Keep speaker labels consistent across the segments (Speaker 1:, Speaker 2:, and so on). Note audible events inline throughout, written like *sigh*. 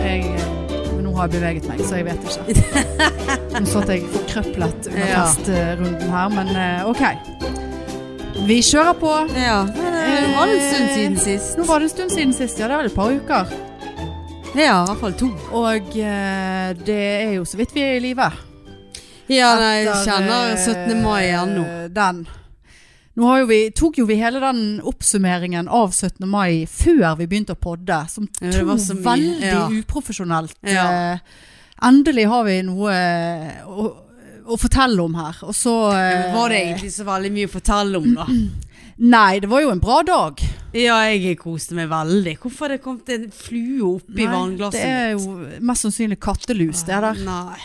Speaker 1: eh, har beveget meg, så jeg vet ikke. Nå satt jeg forkrøplet under
Speaker 2: Ja.
Speaker 1: testrunden her, men eh, OK. Vi kjører på.
Speaker 2: Ja, det var en stund siden sist.
Speaker 1: Nå var det en stund siden sist, ja. Det er vel et par uker.
Speaker 2: Ja, i hvert fall to.
Speaker 1: Og eh, det er jo så vidt vi er i live.
Speaker 2: Ja, nei, jeg
Speaker 1: Etter,
Speaker 2: kjenner 17. mai igjen nå.
Speaker 1: eh, Den. Nå har jo vi, tok jo vi hele den oppsummeringen av 17. mai før vi begynte å podde, som to
Speaker 2: Ja, det var så mye,
Speaker 1: veldig
Speaker 2: ja.
Speaker 1: uprofesjonelt.
Speaker 2: Ja.
Speaker 1: eh, Endelig har vi noe eh, å, å fortelle om her. Og så eh,
Speaker 2: Var det egentlig så veldig mye å fortelle om, da?
Speaker 1: Nei, det var jo en bra dag.
Speaker 2: *clears throat* Ja, jeg koste meg veldig. Hvorfor har det kommet en flue opp i
Speaker 1: Nei,
Speaker 2: vannglasset?
Speaker 1: Det er jo mest sannsynlig kattelus, det der.
Speaker 2: Nei.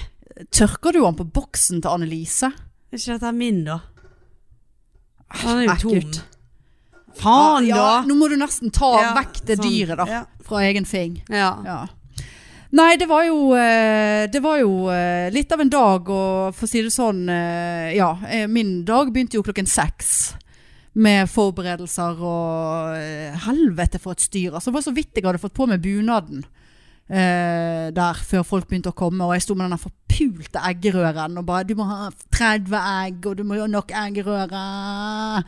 Speaker 1: Tørker du den på boksen til Annelise?
Speaker 2: Er ikke dette min, da? Han er jo tom.
Speaker 1: Ekkelt.
Speaker 2: Faen,
Speaker 1: Ja,
Speaker 2: da!
Speaker 1: Nå må du nesten ta
Speaker 2: Ja,
Speaker 1: vekk det
Speaker 2: sånn.
Speaker 1: dyret, da.
Speaker 2: Ja.
Speaker 1: Fra egen fing.
Speaker 2: Ja.
Speaker 1: Ja. Nei, det var jo, eh, det var jo eh, litt av en dag, og for å si det sånn, eh, ja, eh, min dag begynte jo klokken seks. Med forberedelser og eh, helvete for et styr. Altså, det var så vidt jeg hadde fått på meg bunaden eh, der før folk begynte å komme. Og jeg sto med den der forpulte eggerøren og bare 'Du må ha 30 egg, og du må ha nok eggerøre'.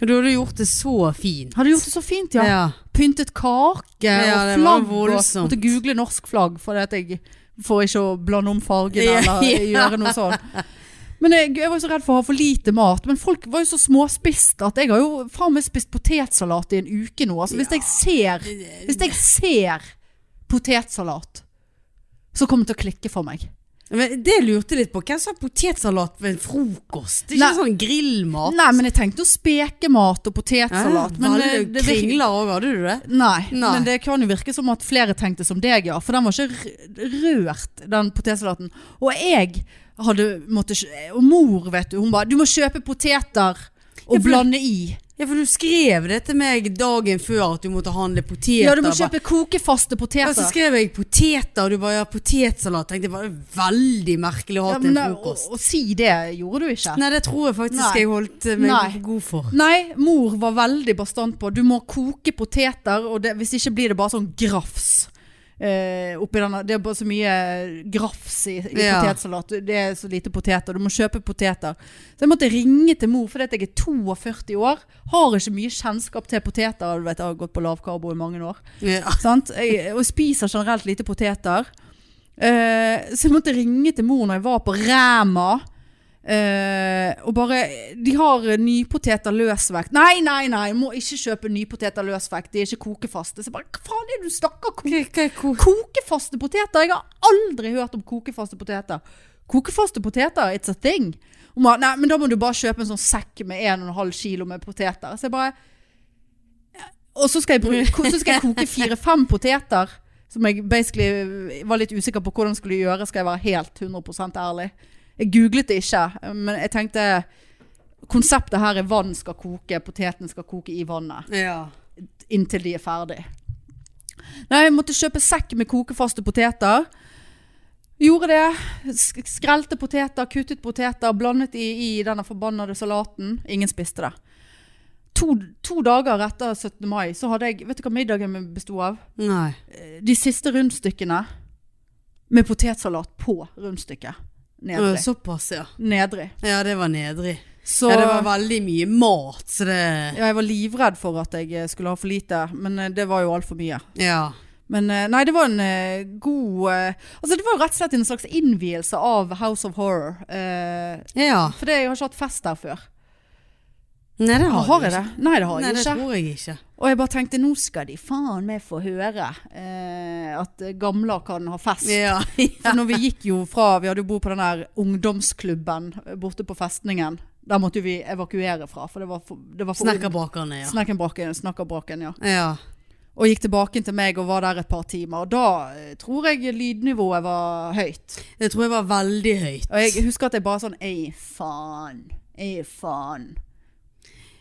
Speaker 2: Du hadde gjort det så fint.
Speaker 1: Hadde gjort det så fint, ja. pyntet kake
Speaker 2: Ja,
Speaker 1: og
Speaker 2: det var
Speaker 1: flagg. Og
Speaker 2: voldsomt.
Speaker 1: måtte google norsk flagg, for at jeg får ikke å blande om fargen
Speaker 2: Ja,
Speaker 1: eller
Speaker 2: *laughs* ja.
Speaker 1: gjøre noe sånt. Men jeg, jeg var jo så redd for å ha for lite mat. Men folk var jo så småspist at jeg har jo faen meg spist potetsalat i en uke nå. Altså, hvis, jeg ser, hvis jeg ser potetsalat, så kommer det til å klikke for meg.
Speaker 2: Men det lurte jeg litt på. Hvem som har potetsalat ved en frokost? Det er
Speaker 1: Nei.
Speaker 2: ikke sånn grillmat.
Speaker 1: Nei, men jeg tenkte jo spekemat og
Speaker 2: Ah,
Speaker 1: potetsalat. Men
Speaker 2: Valle-
Speaker 1: eh, det virker
Speaker 2: kringler òg, hadde du det?
Speaker 1: Nei,
Speaker 2: Nei.
Speaker 1: men det kan jo virke som at flere tenkte som deg, ja. For den var ikke r- rørt, den potetsalaten. Og jeg hadde måttet kjø- Og mor, vet du, hun bare 'Du må kjøpe poteter og
Speaker 2: Ja, for-
Speaker 1: blande i'.
Speaker 2: Ja, for du skrev det til meg dagen før at du måtte handle poteter.
Speaker 1: Ja, du må
Speaker 2: Jeg bare-
Speaker 1: kjøpe kokefaste
Speaker 2: Ja, så
Speaker 1: poteter.
Speaker 2: skrev jeg poteter, og du bare ja, potetsalat. Tenkte jeg bare veldig merkelig å ha
Speaker 1: Ja,
Speaker 2: til
Speaker 1: men,
Speaker 2: en
Speaker 1: å,
Speaker 2: frokost.
Speaker 1: å si det gjorde du ikke. Nei.
Speaker 2: Nei, det tror jeg faktisk
Speaker 1: Nei.
Speaker 2: jeg holdt eh, meg
Speaker 1: Nei.
Speaker 2: for god for.
Speaker 1: mor var veldig bastant på 'du må koke poteter', og det, hvis ikke blir det bare sånn grafs. Eh, oppi denne, det er bare så mye grafs i, i
Speaker 2: Ja.
Speaker 1: potetsalat. Det er så lite poteter. Du må kjøpe poteter. Så jeg måtte ringe til mor fordi at jeg er 42 år. Har ikke mye kjennskap til poteter. Du vet, jeg har gått på lavkarbo i mange år.
Speaker 2: Ja.
Speaker 1: Sant? Jeg, og spiser generelt lite poteter. Eh, så jeg måtte ringe til mor når jeg var på Ræma. eh, og bare De har nypoteter løsvekt. Nei, nei, nei! Må ikke kjøpe nypoteter løsvekt. De er ikke kokefaste. Så jeg bare Hva faen er det du snakker om?
Speaker 2: Hva- hva er ko-
Speaker 1: Kokefaste poteter? Jeg har aldri hørt om kokefaste poteter. Kokefaste poteter, it's a thing. Og man, nei, men da må du bare kjøpe en sånn sekk med 1,5 kilo med poteter. Så jeg bare Og så skal jeg, bruke, så skal jeg koke fire-fem poteter. Som jeg basically var litt usikker på hvordan jeg skulle gjøre, skal jeg være helt 100 ærlig. Jeg googlet det ikke, men jeg tenkte Konseptet her er vann skal koke, potetene skal koke i vannet
Speaker 2: Ja.
Speaker 1: inntil de er ferdig. Nei, jeg måtte kjøpe sekk med kokefaste poteter. Gjorde det. Sk- Skrelte poteter, kuttet poteter, blandet i, i denne forbannede salaten. Ingen spiste det. To, to dager etter 17. mai så hadde jeg Vet du hva middagen min besto av?
Speaker 2: Nei.
Speaker 1: De siste rundstykkene med potetsalat på rundstykket.
Speaker 2: Ja,
Speaker 1: Nedrig.
Speaker 2: Såpass, ja.
Speaker 1: Nedrig.
Speaker 2: Ja, det var nedrig.
Speaker 1: Så
Speaker 2: Ja, det var veldig mye mat, så det
Speaker 1: ja, jeg var livredd for at jeg eh, skulle ha for lite, men eh, det var jo altfor mye.
Speaker 2: Ja.
Speaker 1: Men eh, nei, det var en eh, god eh, Altså det var jo rett og slett en slags innvielse av House of Horror. eh,
Speaker 2: Ja.
Speaker 1: for det, jeg har ikke hatt fest der før.
Speaker 2: Nei, det
Speaker 1: Har,
Speaker 2: har,
Speaker 1: jeg
Speaker 2: du
Speaker 1: det?
Speaker 2: ikke.
Speaker 1: Nei, det har jeg
Speaker 2: Nei, det
Speaker 1: ikke.
Speaker 2: tror jeg ikke.
Speaker 1: Og jeg bare tenkte nå skal de faen meg få høre eh, at gamler kan ha fest. *laughs*
Speaker 2: Ja.
Speaker 1: For når vi gikk jo fra Vi hadde jo bodd på den der ungdomsklubben eh, borte på festningen. Der måtte jo vi evakuere fra, for det var for, det var for
Speaker 2: Snekkerbakerne, ja.
Speaker 1: Snekkerbraken, snakkerbraken, ja.
Speaker 2: Ja.
Speaker 1: Og gikk tilbake til meg og var der et par timer. Og da eh, tror jeg lydnivået var høyt.
Speaker 2: Det tror jeg var veldig høyt.
Speaker 1: Og jeg husker at jeg bare sånn Ei, faen. Ei, faen.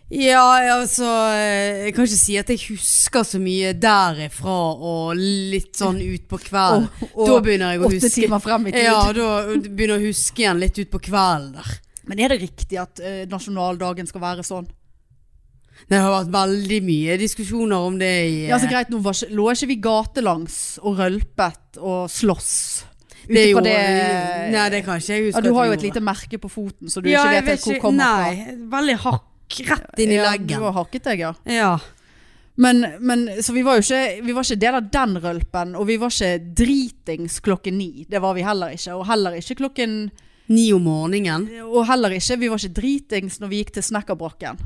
Speaker 2: Ja, altså eh, Jeg kan ikke si at jeg husker så mye derifra og litt sånn utpå kvelden.
Speaker 1: Og- og
Speaker 2: da begynner jeg å
Speaker 1: Åtte
Speaker 2: huske.
Speaker 1: timer frem i tid.
Speaker 2: Ja, da begynner jeg å huske igjen litt utpå kvelden der.
Speaker 1: Men er det riktig at eh, nasjonaldagen skal være sånn?
Speaker 2: Det har vært veldig mye diskusjoner om det i eh,
Speaker 1: Ja, altså greit, nå var ikke, lå ikke vi gatelangs og rølpet og slåss.
Speaker 2: det er
Speaker 1: Ut
Speaker 2: jo,
Speaker 1: ifra det
Speaker 2: Nei, det kan ikke jeg huske.
Speaker 1: ja, Du
Speaker 2: at
Speaker 1: har
Speaker 2: vi
Speaker 1: jo et
Speaker 2: gjorde.
Speaker 1: lite merke på foten, så du
Speaker 2: Ja,
Speaker 1: ikke
Speaker 2: jeg
Speaker 1: vet helt
Speaker 2: vet
Speaker 1: hvor kommer
Speaker 2: nei,
Speaker 1: fra.
Speaker 2: Veldig hakk rett inn i
Speaker 1: Ja,
Speaker 2: leggen.
Speaker 1: Du har hakket deg, ja.
Speaker 2: Ja.
Speaker 1: Men, men, så vi var jo ikke, vi var ikke del av den rølpen, og vi var ikke dritings klokken ni. Det var vi heller ikke. Og heller ikke klokken
Speaker 2: Ni om morgenen.
Speaker 1: Og heller ikke, vi var ikke dritings når vi gikk til snekkerbrakken.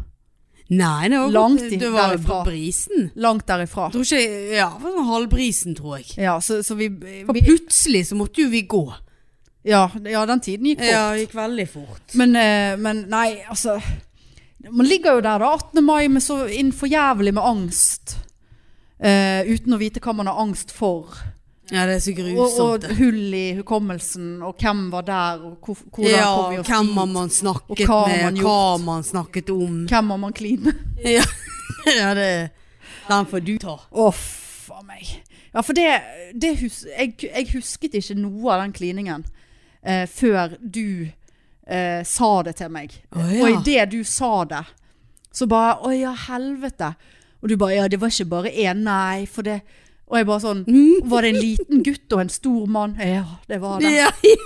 Speaker 2: Nei, det var
Speaker 1: Langt i-
Speaker 2: Det var jo
Speaker 1: derifra.
Speaker 2: på brisen.
Speaker 1: Langt derifra.
Speaker 2: Jeg tror ikke Ja, det var sånn halvbrisen, tror jeg.
Speaker 1: Ja, så, så vi,
Speaker 2: For
Speaker 1: vi
Speaker 2: plutselig så måtte jo vi gå.
Speaker 1: ja, ja, den tiden gikk fort.
Speaker 2: det gikk veldig fort.
Speaker 1: Men, eh, men nei, altså Man ligger jo der da 18. mai med så inn for jævlig med angst. eh, uten å vite hva man har angst for.
Speaker 2: Ja, det er så
Speaker 1: Og,
Speaker 2: grusomt.
Speaker 1: og
Speaker 2: det.
Speaker 1: hull i hukommelsen, og hvem var der, og hvor, hvordan
Speaker 2: ja,
Speaker 1: kom vi
Speaker 2: og
Speaker 1: oss
Speaker 2: hvem har
Speaker 1: dit?
Speaker 2: man snakket
Speaker 1: Og hva har
Speaker 2: med,
Speaker 1: man
Speaker 2: hva
Speaker 1: gjort?
Speaker 2: har man snakket
Speaker 1: *laughs*
Speaker 2: om?
Speaker 1: Hvem har man klinet?
Speaker 2: Ja, ja det Den får du ta.
Speaker 1: Å, faen meg. Ja, for det, det hus jeg, jeg husket ikke noe av den kliningen eh, før du eh, sa det til meg.
Speaker 2: Å, ja.
Speaker 1: Og idet du sa det, så bare Å ja, helvete. Og du bare Ja, det var ikke bare én, nei, for det Og jeg bare sånn Var det en liten gutt og en stor mann? Ja, det var det.
Speaker 2: Mm.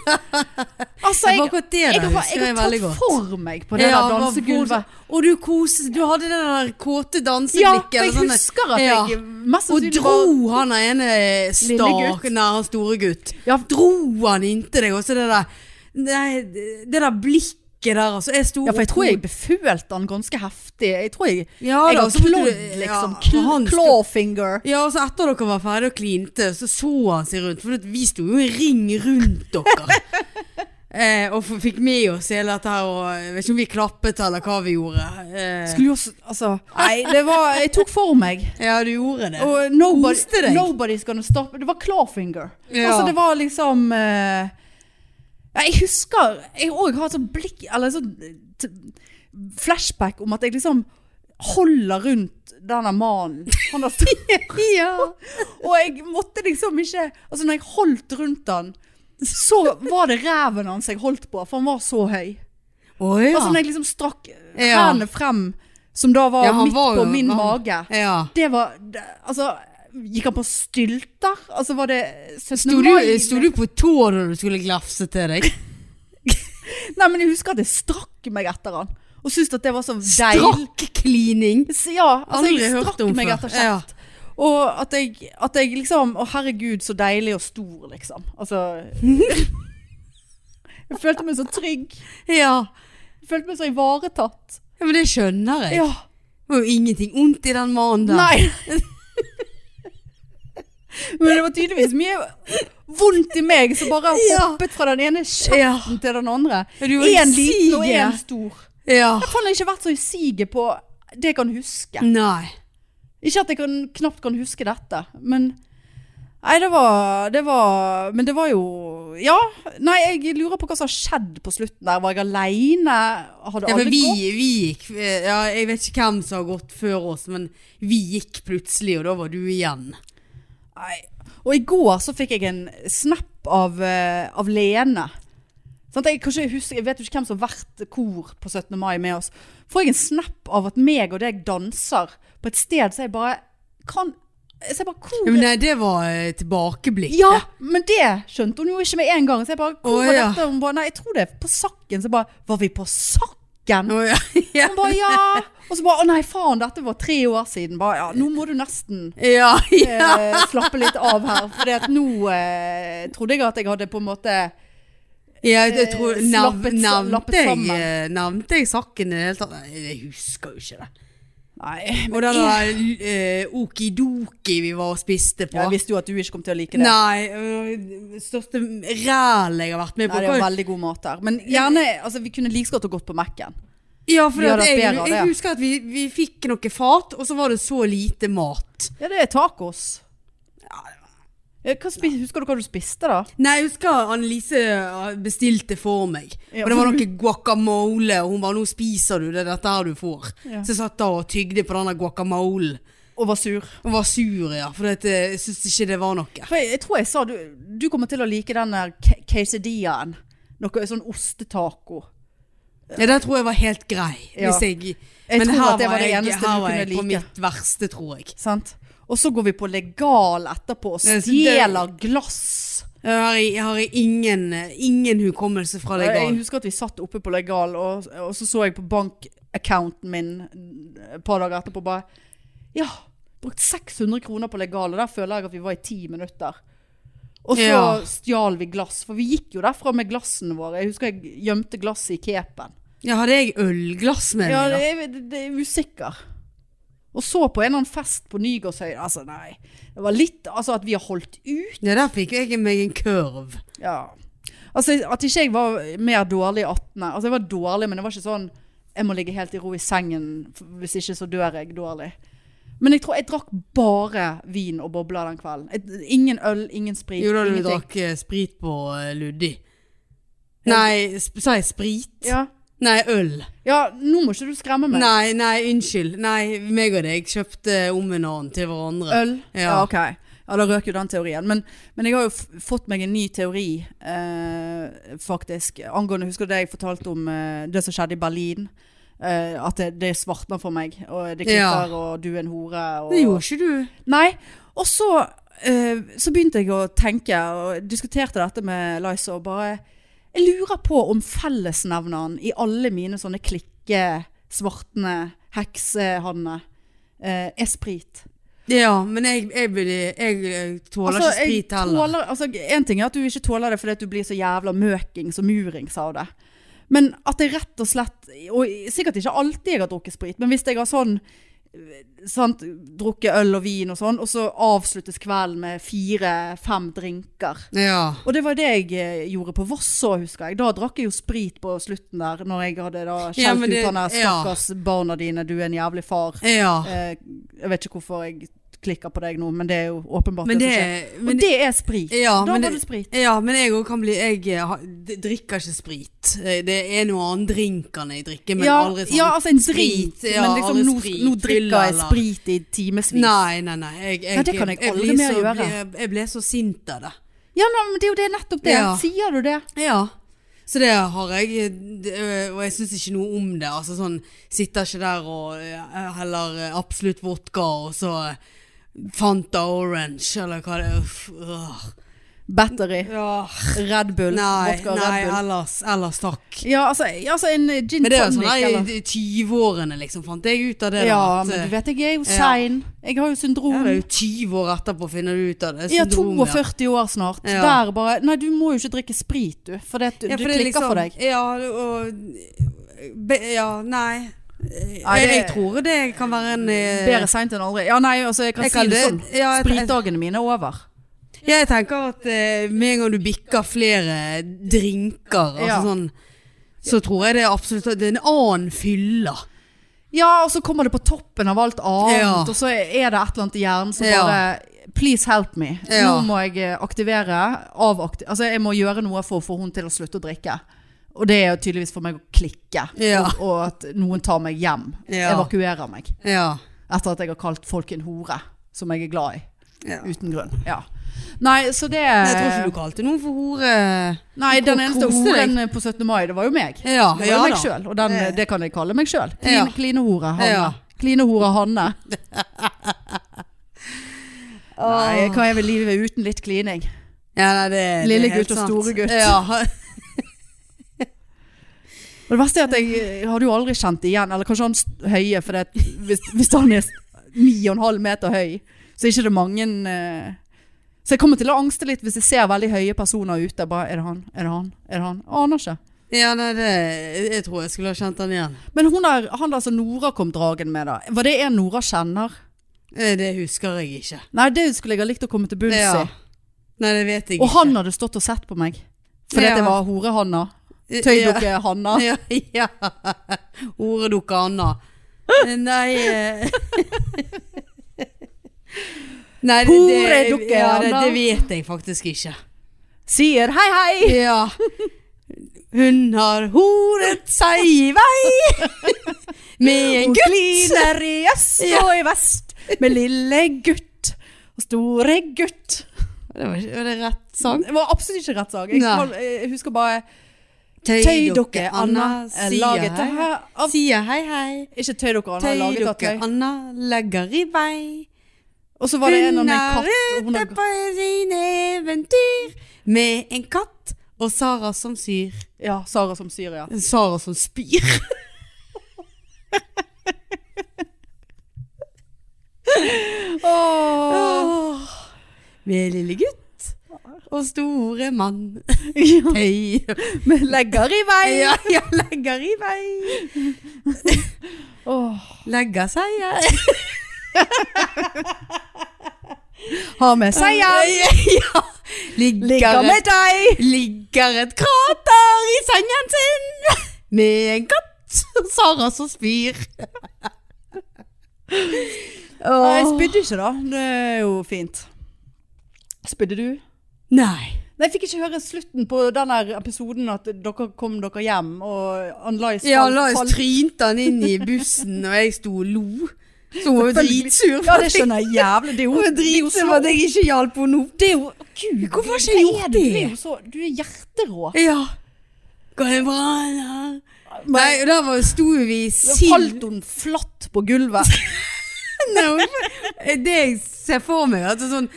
Speaker 2: Ja,
Speaker 1: Altså,
Speaker 2: det var
Speaker 1: jeg,
Speaker 2: akkurat det
Speaker 1: jeg,
Speaker 2: der
Speaker 1: har,
Speaker 2: husker
Speaker 1: jeg
Speaker 2: jeg
Speaker 1: har
Speaker 2: veldig
Speaker 1: tatt
Speaker 2: godt.
Speaker 1: for meg på det
Speaker 2: Ja,
Speaker 1: der
Speaker 2: hva-
Speaker 1: dansegulvet.
Speaker 2: Og du kose, du hadde det der kåte
Speaker 1: Ja,
Speaker 2: danseblikket.
Speaker 1: for jeg
Speaker 2: eller sånn-
Speaker 1: husker at
Speaker 2: Ja.
Speaker 1: jeg mest
Speaker 2: Og
Speaker 1: sannsynlig var
Speaker 2: dro han ene eh,
Speaker 1: gutt.
Speaker 2: staken der, han store gutt.
Speaker 1: Ja.
Speaker 2: Dro han inntil deg, og så det der, det, det der blikket der, altså. Jeg sto
Speaker 1: Ja, for jeg
Speaker 2: opp-
Speaker 1: tror jeg befølte han ganske heftig. Jeg tror jeg,
Speaker 2: ja,
Speaker 1: jeg
Speaker 2: da,
Speaker 1: har
Speaker 2: så måtte du-
Speaker 1: klådd,
Speaker 2: ja,
Speaker 1: liksom.
Speaker 2: for han
Speaker 1: Kl
Speaker 2: sto-
Speaker 1: clawfinger.
Speaker 2: Ja, og så etter dere var ferdige og klinte, så så han seg rundt. For at vi sto jo i ring
Speaker 1: *laughs*
Speaker 2: rundt dere. eh, og f- fikk med oss hele dette her, og eh, jeg vet ikke om vi klappet eller hva vi gjorde. Eh,
Speaker 1: Skulle jo s- Altså Nei, det var Jeg tok for meg.
Speaker 2: ja, du gjorde det.
Speaker 1: Og nobody,
Speaker 2: Koste Eh, deg.
Speaker 1: nobody's gonna stop Det var clawfinger.
Speaker 2: Ja.
Speaker 1: Altså, det var liksom eh, ja, Jeg husker Jeg òg har et sånt blikk Eller et sånt eh, t- flashback om at jeg liksom holder rundt denne mannen. Han har stått
Speaker 2: *laughs* ja.
Speaker 1: Og jeg måtte liksom ikke Altså når jeg holdt rundt han Så var det reven hans jeg holdt på For han var så høy
Speaker 2: Å, ja.
Speaker 1: Altså når jeg liksom strakk
Speaker 2: Ja.
Speaker 1: hendene frem Som da var
Speaker 2: Ja, han
Speaker 1: midt
Speaker 2: var jo-
Speaker 1: på min
Speaker 2: han-
Speaker 1: mage
Speaker 2: ja.
Speaker 1: Det var det, Altså Gikk han på stylter? Altså var det 17.
Speaker 2: Sto
Speaker 1: mai?
Speaker 2: du, sto du på tå da du skulle glafse til
Speaker 1: *laughs*
Speaker 2: deg?
Speaker 1: Nei, men jeg husker at jeg strakk meg etter han Og syntes at det var så deilig
Speaker 2: Strakk-klining!
Speaker 1: Ja, altså
Speaker 2: Aldri
Speaker 1: jeg
Speaker 2: hørt
Speaker 1: strakk
Speaker 2: om
Speaker 1: meg
Speaker 2: før.
Speaker 1: etter kjeft. Og at jeg, at jeg liksom Å herregud, så deilig og stor, liksom.
Speaker 2: *laughs*
Speaker 1: Altså Jeg følte meg så trygg.
Speaker 2: Ja.
Speaker 1: Jeg følte meg så ivaretatt.
Speaker 2: ja, men det skjønner jeg.
Speaker 1: Ja.
Speaker 2: Det var jo ingenting ondt i den mannen der.
Speaker 1: Nei. Men det var tydeligvis mye vondt i meg som bare
Speaker 2: Ja.
Speaker 1: hoppet fra den ene kjeften
Speaker 2: Ja.
Speaker 1: til den andre.
Speaker 2: Ja, du var i
Speaker 1: Én liten og
Speaker 2: siget.
Speaker 1: én stor.
Speaker 2: Ja.
Speaker 1: Jeg har ikke vært så i siget på det jeg kan huske.
Speaker 2: Nei.
Speaker 1: Ikke at jeg kan, knapt kan huske dette, men Nei, det var, det var Men det var jo Ja. Nei, jeg lurer på hva som har skjedd på slutten der. Var jeg aleine? Hadde
Speaker 2: Ja, for
Speaker 1: alle
Speaker 2: vi,
Speaker 1: gått?
Speaker 2: vi gikk eh, ja, Jeg vet ikke hvem som har gått før oss, men vi gikk plutselig, og da var du igjen.
Speaker 1: Nei. Og i går så fikk jeg en snap av, eh, av Lene. Sånn, jeg, kanskje, husker, jeg vet jo ikke hvem som har vært kor på 17. mai med oss. Får jeg en snap av at meg og deg danser på et sted, så jeg bare kan Så jeg bare
Speaker 2: Ja, men
Speaker 1: Hvor
Speaker 2: nei, det var eh, tilbakeblikk.
Speaker 1: Ja, men det skjønte hun jo ikke med en gang. Så jeg bare, hvor
Speaker 2: Å,
Speaker 1: var
Speaker 2: ja.
Speaker 1: dette? Hun bare, nei, jeg tror det er på sakken. Så jeg bare, var vi på sakken?
Speaker 2: Å, ja. *laughs* ja.
Speaker 1: Hun bare, ja. Og så bare, å nei, faen, dette var tre år siden. Bare, ja, nå må du nesten
Speaker 2: ja, ja.
Speaker 1: eh, slappe litt av her. For at nå eh, trodde jeg at jeg hadde på en måte,
Speaker 2: ja jeg tror,
Speaker 1: Eh,
Speaker 2: nav,
Speaker 1: slappet- lappet
Speaker 2: nevnte, jeg,
Speaker 1: sammen.
Speaker 2: eh, nevnte jeg saken i det hele tatt? Nei, Jeg husker jo ikke det.
Speaker 1: nei.
Speaker 2: Og den der eh, okidoki vi var og spiste på.
Speaker 1: Jeg visste jo at du ikke kom til å like det.
Speaker 2: Nei, øh, største ræl jeg har vært med på.
Speaker 1: Nei, det var veldig god mat der. Men gjerne, altså, vi kunne like så godt ha gått på Mac-en.
Speaker 2: ja, for
Speaker 1: Vi hadde
Speaker 2: at
Speaker 1: hatt
Speaker 2: jeg,
Speaker 1: bedre av
Speaker 2: jeg
Speaker 1: det.
Speaker 2: husker at vi, vi fikk noe fat, og så var det så lite mat.
Speaker 1: Ja, det er tacos. Ja, hva spi- Husker du hva du spiste da?
Speaker 2: Nei, jeg husker Annelise øh, bestilte for meg.
Speaker 1: Ja,
Speaker 2: og det var
Speaker 1: for
Speaker 2: noe guacamole, og hun bare 'nå spiser du, det er dette her du får'.
Speaker 1: Ja.
Speaker 2: Så jeg satt da og tygde på denne guacamolen.
Speaker 1: Og var sur.
Speaker 2: Og var sur, ja, for at, øh, jeg syntes ikke det var noe.
Speaker 1: For jeg, jeg tror jeg sa du, du kommer til å like den der ke- quesadillaen. Noe sånn ostetaco.
Speaker 2: Ja, den tror jeg var helt grei.
Speaker 1: Ja.
Speaker 2: Hvis jeg,
Speaker 1: Jeg
Speaker 2: men
Speaker 1: tror
Speaker 2: her
Speaker 1: at det var det
Speaker 2: jeg-
Speaker 1: eneste
Speaker 2: her
Speaker 1: du
Speaker 2: var
Speaker 1: kunne
Speaker 2: jeg på
Speaker 1: like.
Speaker 2: mitt verste, tror jeg.
Speaker 1: Sant? Og så går vi på legal etterpå og
Speaker 2: Ja, så det-
Speaker 1: stjeler glass.
Speaker 2: Jeg har, jeg har ingen, eh, ingen hukommelse fra
Speaker 1: Jeg
Speaker 2: legal.
Speaker 1: husker at vi satt oppe på legal, og, og så så jeg på bank-accounten min et par dager etterpå bare Ja, brukt 600 kroner på legal, og der føler jeg at vi var i ti minutter. Og så
Speaker 2: Ja.
Speaker 1: stjal vi glass, for vi gikk jo derfra med glassene våre. Jeg husker jeg gjemte glasset i capen.
Speaker 2: Ja, hadde jeg ølglass med
Speaker 1: Ja,
Speaker 2: meg, da?
Speaker 1: det, er- det, det er usikker. Og så på en eller annen fest på Nygårdshøyden. Altså, nei. Det var litt Altså, at vi har holdt ut.
Speaker 2: Ja, der fikk jeg meg en kurv.
Speaker 1: Ja. Altså, at ikke jeg var mer dårlig i 18. Altså, jeg var dårlig, men det var ikke sånn Jeg må ligge helt i ro i sengen, for hvis ikke så dør jeg dårlig. Men jeg tror jeg drakk bare vin og bobler den kvelden. Jeg, ingen øl, ingen sprit.
Speaker 2: Jo da, du
Speaker 1: ingenting.
Speaker 2: drakk eh, sprit på eh, Luddi. Nei, sp sa jeg sprit?
Speaker 1: Ja.
Speaker 2: Nei, øl.
Speaker 1: ja, nå må ikke du skremme meg.
Speaker 2: Nei, nei, unnskyld. Nei, meg og deg kjøpte om en annen til hverandre.
Speaker 1: Øl?
Speaker 2: Ja.
Speaker 1: Ja. ok. Ja, da røk jo den teorien. Men, men jeg har jo f fått meg en ny teori, eh, faktisk. Angående, husker du det jeg fortalte om eh, det som skjedde i Berlin? Eh, at det, det svartner for meg. Og det
Speaker 2: Ja.
Speaker 1: klikker, og du er en hore. Og,
Speaker 2: Det gjorde ikke du.
Speaker 1: Nei. Og så, eh, så begynte jeg å tenke, og diskuterte dette med Liza, og bare Jeg lurer på om fellesnevneren i alle mine sånne klikke, svartne, heksehanne eh, er sprit.
Speaker 2: Ja, men jeg, jeg, blir- jeg, jeg tåler
Speaker 1: Altså,
Speaker 2: ikke sprit
Speaker 1: jeg
Speaker 2: heller.
Speaker 1: tåler- altså, en ting er at du ikke tåler det fordi at du blir så jævla møkings og murings av det. Men at jeg rett og slett Og sikkert ikke alltid jeg har drukket sprit, men hvis jeg har sånn eh, sant, Drukket øl og vin og sånn, og så avsluttes kvelden med fire-fem drinker.
Speaker 2: Ja.
Speaker 1: Og det var det jeg eh, gjorde på Voss òg, husker jeg. Da drakk jeg jo sprit på slutten der, når jeg hadde da skjelt
Speaker 2: Ja, men det-
Speaker 1: ut han der
Speaker 2: ja.
Speaker 1: stakkars barna dine, du er en jævlig far.
Speaker 2: ja.
Speaker 1: Eh, jeg vet ikke hvorfor jeg klikker på deg nå, men det er jo åpenbart
Speaker 2: Men
Speaker 1: det
Speaker 2: det,
Speaker 1: som skjer.
Speaker 2: men
Speaker 1: Og det er sprit.
Speaker 2: Ja,
Speaker 1: da
Speaker 2: men
Speaker 1: var det sprit.
Speaker 2: Ja, men jeg òg kan bli Jeg eh, ha- d- drikker ikke sprit. Eh, Det er noe annen drink enn jeg drikker, men
Speaker 1: ja,
Speaker 2: aldri sånn.
Speaker 1: ja, altså en
Speaker 2: sprit,
Speaker 1: drink.
Speaker 2: ja,
Speaker 1: men liksom
Speaker 2: aldri
Speaker 1: nå,
Speaker 2: sprit,
Speaker 1: nå drikker jeg
Speaker 2: fylla, eller-
Speaker 1: sprit i timevis.
Speaker 2: Nei, nei, nei. Jeg, jeg,
Speaker 1: Nei, det kan jeg aldri
Speaker 2: blir
Speaker 1: mer
Speaker 2: så,
Speaker 1: gjøre.
Speaker 2: ble- Jeg, jeg ble så sint av det.
Speaker 1: Ja, nei, men det er jo det nettopp det.
Speaker 2: Ja.
Speaker 1: Sier du det?
Speaker 2: Ja. Så det har jeg, det, øh, og jeg syns ikke noe om det. Altså sånn, Sitter ikke der og øh, heller øh, absolutt vodka og så øh, Fanta Orange, eller hva det er. Uff, øh.
Speaker 1: Battery. Red Bull.
Speaker 2: Nei,
Speaker 1: vodka,
Speaker 2: nei
Speaker 1: Red Bull.
Speaker 2: ellers, ellers takk.
Speaker 1: Ja, altså, ja, altså en eh, gin
Speaker 2: Men det er jo
Speaker 1: tonic.
Speaker 2: sånn her
Speaker 1: eller-
Speaker 2: i 20-årene, liksom, fant jeg ut av det. da,
Speaker 1: ja,
Speaker 2: at,
Speaker 1: men
Speaker 2: øh,
Speaker 1: du vet jeg er jo
Speaker 2: ja.
Speaker 1: sein. Jeg har jo syndrom.
Speaker 2: ja, det er jo 20 år etterpå finner du ut av det.
Speaker 1: Ja,
Speaker 2: Syndrom,
Speaker 1: 42 år snart.
Speaker 2: Ja.
Speaker 1: Der bare Nei, du må jo ikke drikke sprit, du. For det, at du,
Speaker 2: Ja,
Speaker 1: du
Speaker 2: for det er liksom,
Speaker 1: klikker for deg.
Speaker 2: Ja, og be, Ja, nei.
Speaker 1: Nei,
Speaker 2: jeg,
Speaker 1: det-
Speaker 2: jeg tror det kan være en eh,
Speaker 1: Bedre seint enn aldri. Ja, nei, altså, jeg kan
Speaker 2: Jeg
Speaker 1: si
Speaker 2: kan
Speaker 1: det
Speaker 2: det-
Speaker 1: sånn.
Speaker 2: ja, jeg-
Speaker 1: Spritdagene mine er over.
Speaker 2: Ja, jeg tenker at eh, med en gang du bikker flere drinker, altså
Speaker 1: Ja.
Speaker 2: sånn, så tror jeg det er absolutt Det er en annen fylla.
Speaker 1: Ja, og så kommer det på toppen av alt annet,
Speaker 2: Ja.
Speaker 1: og så er det et eller annet i hjernen som
Speaker 2: Ja.
Speaker 1: bare Please help me.
Speaker 2: Ja.
Speaker 1: Nå må jeg eh, aktivere. Avakti altså, jeg må gjøre noe for å få hun til å slutte å drikke. Og det er jo tydeligvis for meg å klikke.
Speaker 2: Ja.
Speaker 1: Og, og at noen tar meg hjem.
Speaker 2: Ja.
Speaker 1: Evakuerer meg.
Speaker 2: Ja.
Speaker 1: Etter at jeg har kalt folk en hore, som jeg er glad i.
Speaker 2: Ut-
Speaker 1: Uten grunn. Ja. Nei, så det
Speaker 2: Jeg tror ikke du kalte noen for hore.
Speaker 1: Nei, den eneste
Speaker 2: koste deg.
Speaker 1: horen på 17. mai, det var jo meg.
Speaker 2: Ja,
Speaker 1: Det var
Speaker 2: ja
Speaker 1: jo meg
Speaker 2: da.
Speaker 1: sjøl, og den,
Speaker 2: Det-
Speaker 1: det kan jeg kalle meg sjøl.
Speaker 2: Ja.
Speaker 1: Kline, Klinehore Hanne.
Speaker 2: Ja.
Speaker 1: Klinehore Hanne. Nei, hva er vel livet uten litt klining?
Speaker 2: Ja, nei, det,
Speaker 1: Lille
Speaker 2: det er helt
Speaker 1: gutt og
Speaker 2: sant.
Speaker 1: store gutt.
Speaker 2: Ja.
Speaker 1: Og det verste er at jeg eh, hadde jo aldri kjent det igjen, eller kanskje han st- høye, for det, at hvis, hvis han er s- ni og en halv meter høy, så er ikke det mange eh, Så jeg kommer til å angste litt hvis jeg ser veldig høye personer ute. Bare, er det han? Er det han? Er det han? Aner ikke.
Speaker 2: ja, nei, det Jeg tror jeg skulle ha kjent han igjen.
Speaker 1: Men hun der, han der som Nora kom dragen med, da. Var det en Nora kjenner?
Speaker 2: Eh, Det husker jeg ikke.
Speaker 1: Nei, det skulle jeg ha likt å komme til bunns i.
Speaker 2: Ja. Nei, det vet jeg
Speaker 1: Og
Speaker 2: ikke.
Speaker 1: han hadde stått og sett på meg. Fordi at
Speaker 2: Ja.
Speaker 1: jeg var horehanna.
Speaker 2: Eh, ja.
Speaker 1: Tøydukke Hanna.
Speaker 2: Ja, ja. Oredukke Anna. Nei eh. Nei, det, det,
Speaker 1: Horedukke
Speaker 2: ja, det,
Speaker 1: Anna.
Speaker 2: det vet jeg faktisk ikke.
Speaker 1: Sier hei, hei!
Speaker 2: Ja. Hun har horet seg i vei med en
Speaker 1: Hun
Speaker 2: gutt.
Speaker 1: kliner i øst og i vest med lille gutt og store gutt.
Speaker 2: Det var, ikke- var det rett sang?
Speaker 1: Det var absolutt ikke rett sak. Jeg,
Speaker 2: Sånn. Nei.
Speaker 1: kan- jeg husker bare Tøy dere, Anna, er laget
Speaker 2: hei.
Speaker 1: her av
Speaker 2: Sier hei, hei.
Speaker 1: Ikke tøy dere, Anna,
Speaker 2: Tøy
Speaker 1: er laget av
Speaker 2: dere,
Speaker 1: tøy.
Speaker 2: Anna, legger i vei.
Speaker 1: Og så var det en om en
Speaker 2: er
Speaker 1: katt. og Hun
Speaker 2: ute
Speaker 1: har
Speaker 2: på sine eventyr med en katt og Sara som syr.
Speaker 1: Ja, Sara som syr, ja.
Speaker 2: Sara som spyr.
Speaker 1: Åh.
Speaker 2: Med lille gutt og store mann.
Speaker 1: Ja.
Speaker 2: Hei.
Speaker 1: Men legger i vei.
Speaker 2: Ja, ja, legger i vei.
Speaker 1: Åh.
Speaker 2: Legger seg, ja.
Speaker 1: Har med seier.
Speaker 2: *laughs* Ja. Ligger,
Speaker 1: Ligger
Speaker 2: et-
Speaker 1: med deg.
Speaker 2: ligger et krater i sengen sin med en katt og Sara som spyr.
Speaker 1: Nei, Jeg
Speaker 2: Åh.
Speaker 1: spydde ikke, da. Det er jo fint. Spydde du?
Speaker 2: Nei.
Speaker 1: Nei, Jeg fikk ikke høre slutten på den her episoden at dere kom dere hjem, og Ann-Lais
Speaker 2: Ja,
Speaker 1: falt-
Speaker 2: Lars
Speaker 1: falt-
Speaker 2: trynte han inn
Speaker 1: *laughs*
Speaker 2: i bussen, og jeg sto og lo. Så hun var jo
Speaker 1: Selvfølgelig.
Speaker 2: dritsur.
Speaker 1: Ja, det skjønner jeg jævlig.
Speaker 2: *laughs*
Speaker 1: Det er jo
Speaker 2: Hun var dritsur for at jeg ikke hjalp henne opp. Det er jo Gud, hvorfor har ikke
Speaker 1: Hva er
Speaker 2: jeg
Speaker 1: det?
Speaker 2: gjort
Speaker 1: Du er
Speaker 2: det?
Speaker 1: jo så Du er hjerterå.
Speaker 2: Ja. Går det bra, eller? Nei, og der var, sto vi i
Speaker 1: Da
Speaker 2: sild.
Speaker 1: falt hun flatt på
Speaker 2: *laughs*
Speaker 1: gulvet.
Speaker 2: Nei, hun- Eh, Det jeg ser for meg, at det er sånn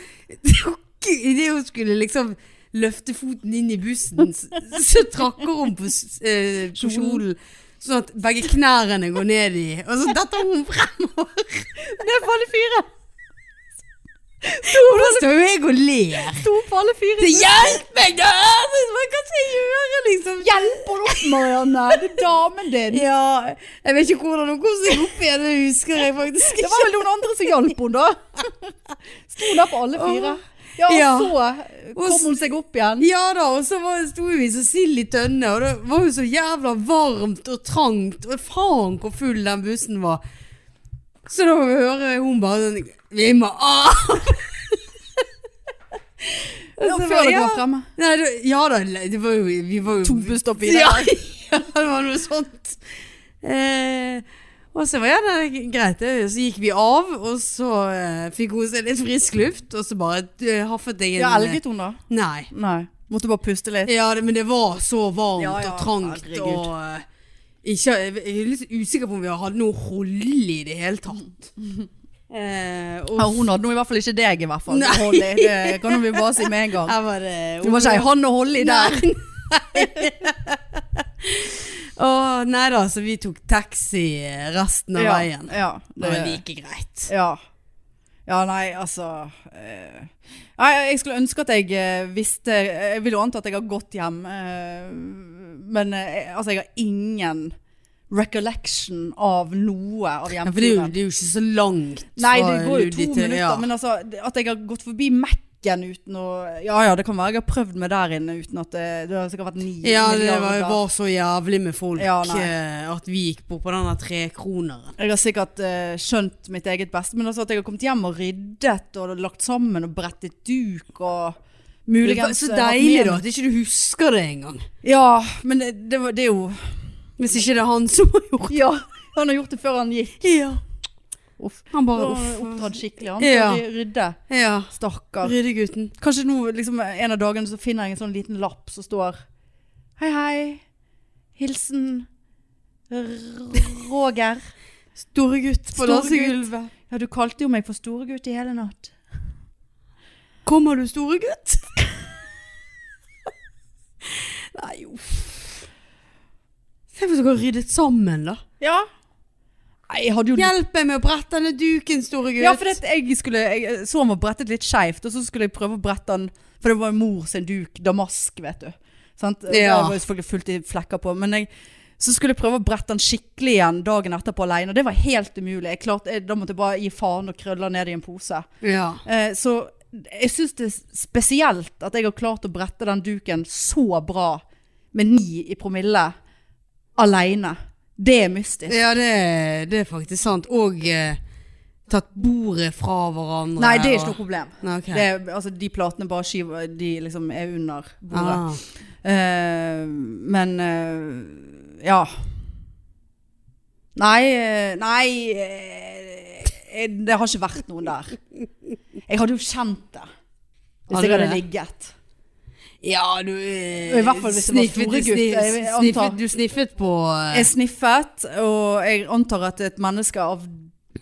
Speaker 2: *laughs* Idet hun skulle liksom løfte foten inn i bussen, s- så trakker hun på, s- eh, på kjolen. Sånn at begge knærne går ned i. Og så detter hun fremover.
Speaker 1: Ned på alle fire.
Speaker 2: Og da står jo jeg og ler.
Speaker 1: To på alle fire.
Speaker 2: Så hjelp meg, da! Hva skal jeg gjøre, liksom?
Speaker 1: Hjelper du opp, Marianne? Det er damen din.
Speaker 2: Ja, jeg vet ikke hvordan hun kom seg opp igjen, det husker jeg faktisk
Speaker 1: Det var vel noen andre som hjalp henne, da. Sto der på alle fire. Ja, og
Speaker 2: Ja.
Speaker 1: så kom hun seg opp igjen.
Speaker 2: Ja da, og så var- sto vi så sild i tønne, og det var jo så jævla varmt og trangt, og faen hvor full den bussen var. Så da hører jeg hun bare sånn Vi må av! Og så
Speaker 1: Ja,
Speaker 2: bare,
Speaker 1: Før dere
Speaker 2: ja.
Speaker 1: var fremme.
Speaker 2: Nei, det, ja da, det var jo, vi var jo
Speaker 1: To busstopp videre.
Speaker 2: Ja, ja, det var noe sånt. Eh, og så var ja, det er greit, det. Så gikk vi av, og så eh, fikk hun seg litt frisk luft, og så bare eh, haffet jeg en
Speaker 1: Ja, elget hun da?
Speaker 2: Nei.
Speaker 1: Nei. Måtte bare puste litt.
Speaker 2: Ja, det, men det var så varmt
Speaker 1: Ja, ja,
Speaker 2: og trangt
Speaker 1: herregud.
Speaker 2: og eh, ikke, Jeg er litt usikker på om vi hadde noe hold i det hele tatt. Eh, og
Speaker 1: Ja, hun hadde nå i hvert fall ikke deg, i hvert fall.
Speaker 2: Nei.
Speaker 1: Hold i, Det kan vi bare si med en gang.
Speaker 2: her var det
Speaker 1: Det var ikke ei hånd å holde i der.
Speaker 2: *laughs* Å, nei da, så vi tok taxi resten av
Speaker 1: Ja,
Speaker 2: veien.
Speaker 1: ja,
Speaker 2: Det var
Speaker 1: det,
Speaker 2: like greit.
Speaker 1: ja. ja, nei, altså eh, Nei, jeg skulle ønske at jeg eh, visste Jeg vil jo anta at jeg har gått hjem, eh, men eh, altså, jeg har ingen recollection av noe av
Speaker 2: Ja, for det er, jo,
Speaker 1: hjemturen.
Speaker 2: det er jo ikke så langt.
Speaker 1: Nei,
Speaker 2: fra
Speaker 1: det går jo
Speaker 2: Ludi
Speaker 1: to
Speaker 2: til-
Speaker 1: minutter,
Speaker 2: ja.
Speaker 1: men altså det- at jeg har gått forbi Mac-en uten å Ja ja, det kan være jeg har prøvd meg der inne uten at det, det har sikkert vært ni
Speaker 2: Ja, det var,
Speaker 1: milliarder.
Speaker 2: var så jævlig med folk
Speaker 1: Ja, nei.
Speaker 2: eh, at vi gikk på på denne trekroneren.
Speaker 1: Jeg har sikkert eh, skjønt mitt eget beste, men altså at jeg har kommet hjem og ryddet og lagt sammen og brettet duk og muligens
Speaker 2: Så
Speaker 1: eh, hatt
Speaker 2: deilig
Speaker 1: med-
Speaker 2: da, at ikke du husker det engang.
Speaker 1: Ja, men det, det, var, det er jo
Speaker 2: Hvis ikke det er han som har gjort
Speaker 1: Ja, han har gjort det før han gikk.
Speaker 2: det. Ja.
Speaker 1: Uff.
Speaker 2: Han
Speaker 1: Han
Speaker 2: bare
Speaker 1: er
Speaker 2: uff.
Speaker 1: oppdratt skikkelig, han.
Speaker 2: Ja.
Speaker 1: Skal vi rydde?
Speaker 2: Ja.
Speaker 1: Stakkar.
Speaker 2: Ryddegutten.
Speaker 1: Kanskje nå, liksom, en av dagene så finner jeg en sånn liten lapp som står Hei, hei. Hilsen R- Roger.
Speaker 2: Store gutt på
Speaker 1: Store
Speaker 2: dansegulvet.
Speaker 1: Ja, du kalte jo meg for storegutt i hele natt.
Speaker 2: Kommer du, store gutt? *laughs* Nei, uff. Se hvis dere har ryddet sammen, da.
Speaker 1: Ja. Nei, jeg hadde jo
Speaker 2: Hjelp meg med å brette denne duken, store gutt.
Speaker 1: Ja, for det, at jeg, skulle, jeg så han var brettet litt skeivt, og så skulle jeg prøve å brette han For det var jo mor sin duk, damask, vet du. Sant? Og
Speaker 2: Ja.
Speaker 1: Det var jo selvfølgelig fullt i flekker på. Men jeg, så skulle jeg prøve å brette han skikkelig igjen dagen etterpå aleine, og det var helt umulig. Jeg klarte, jeg, da måtte jeg bare gi faen og krølle han ned i en pose.
Speaker 2: ja.
Speaker 1: Eh, så jeg syns det er spesielt at jeg har klart å brette den duken så bra med ni i promille aleine. Det er mystisk.
Speaker 2: ja det, det er faktisk sant. Og eh, tatt bordet fra hverandre.
Speaker 1: Nei, det er ikke noe problem.
Speaker 2: Nei, ok.
Speaker 1: Det, er- altså, de platene bare skyver De liksom er under bordet.
Speaker 2: Ah.
Speaker 1: Eh, men eh, Ja. Nei eh, Nei eh, eh, Det har ikke vært noen der. Jeg hadde jo kjent det hvis
Speaker 2: Hadde
Speaker 1: jeg hadde
Speaker 2: det?
Speaker 1: ligget.
Speaker 2: Ja, du eh,
Speaker 1: I hvert fall hvis det var
Speaker 2: sniffet-
Speaker 1: store
Speaker 2: du sni-
Speaker 1: gutter, jeg vil anta.
Speaker 2: Sniffet, du sniffet på eh,
Speaker 1: Jeg sniffet, og jeg antar at et menneske av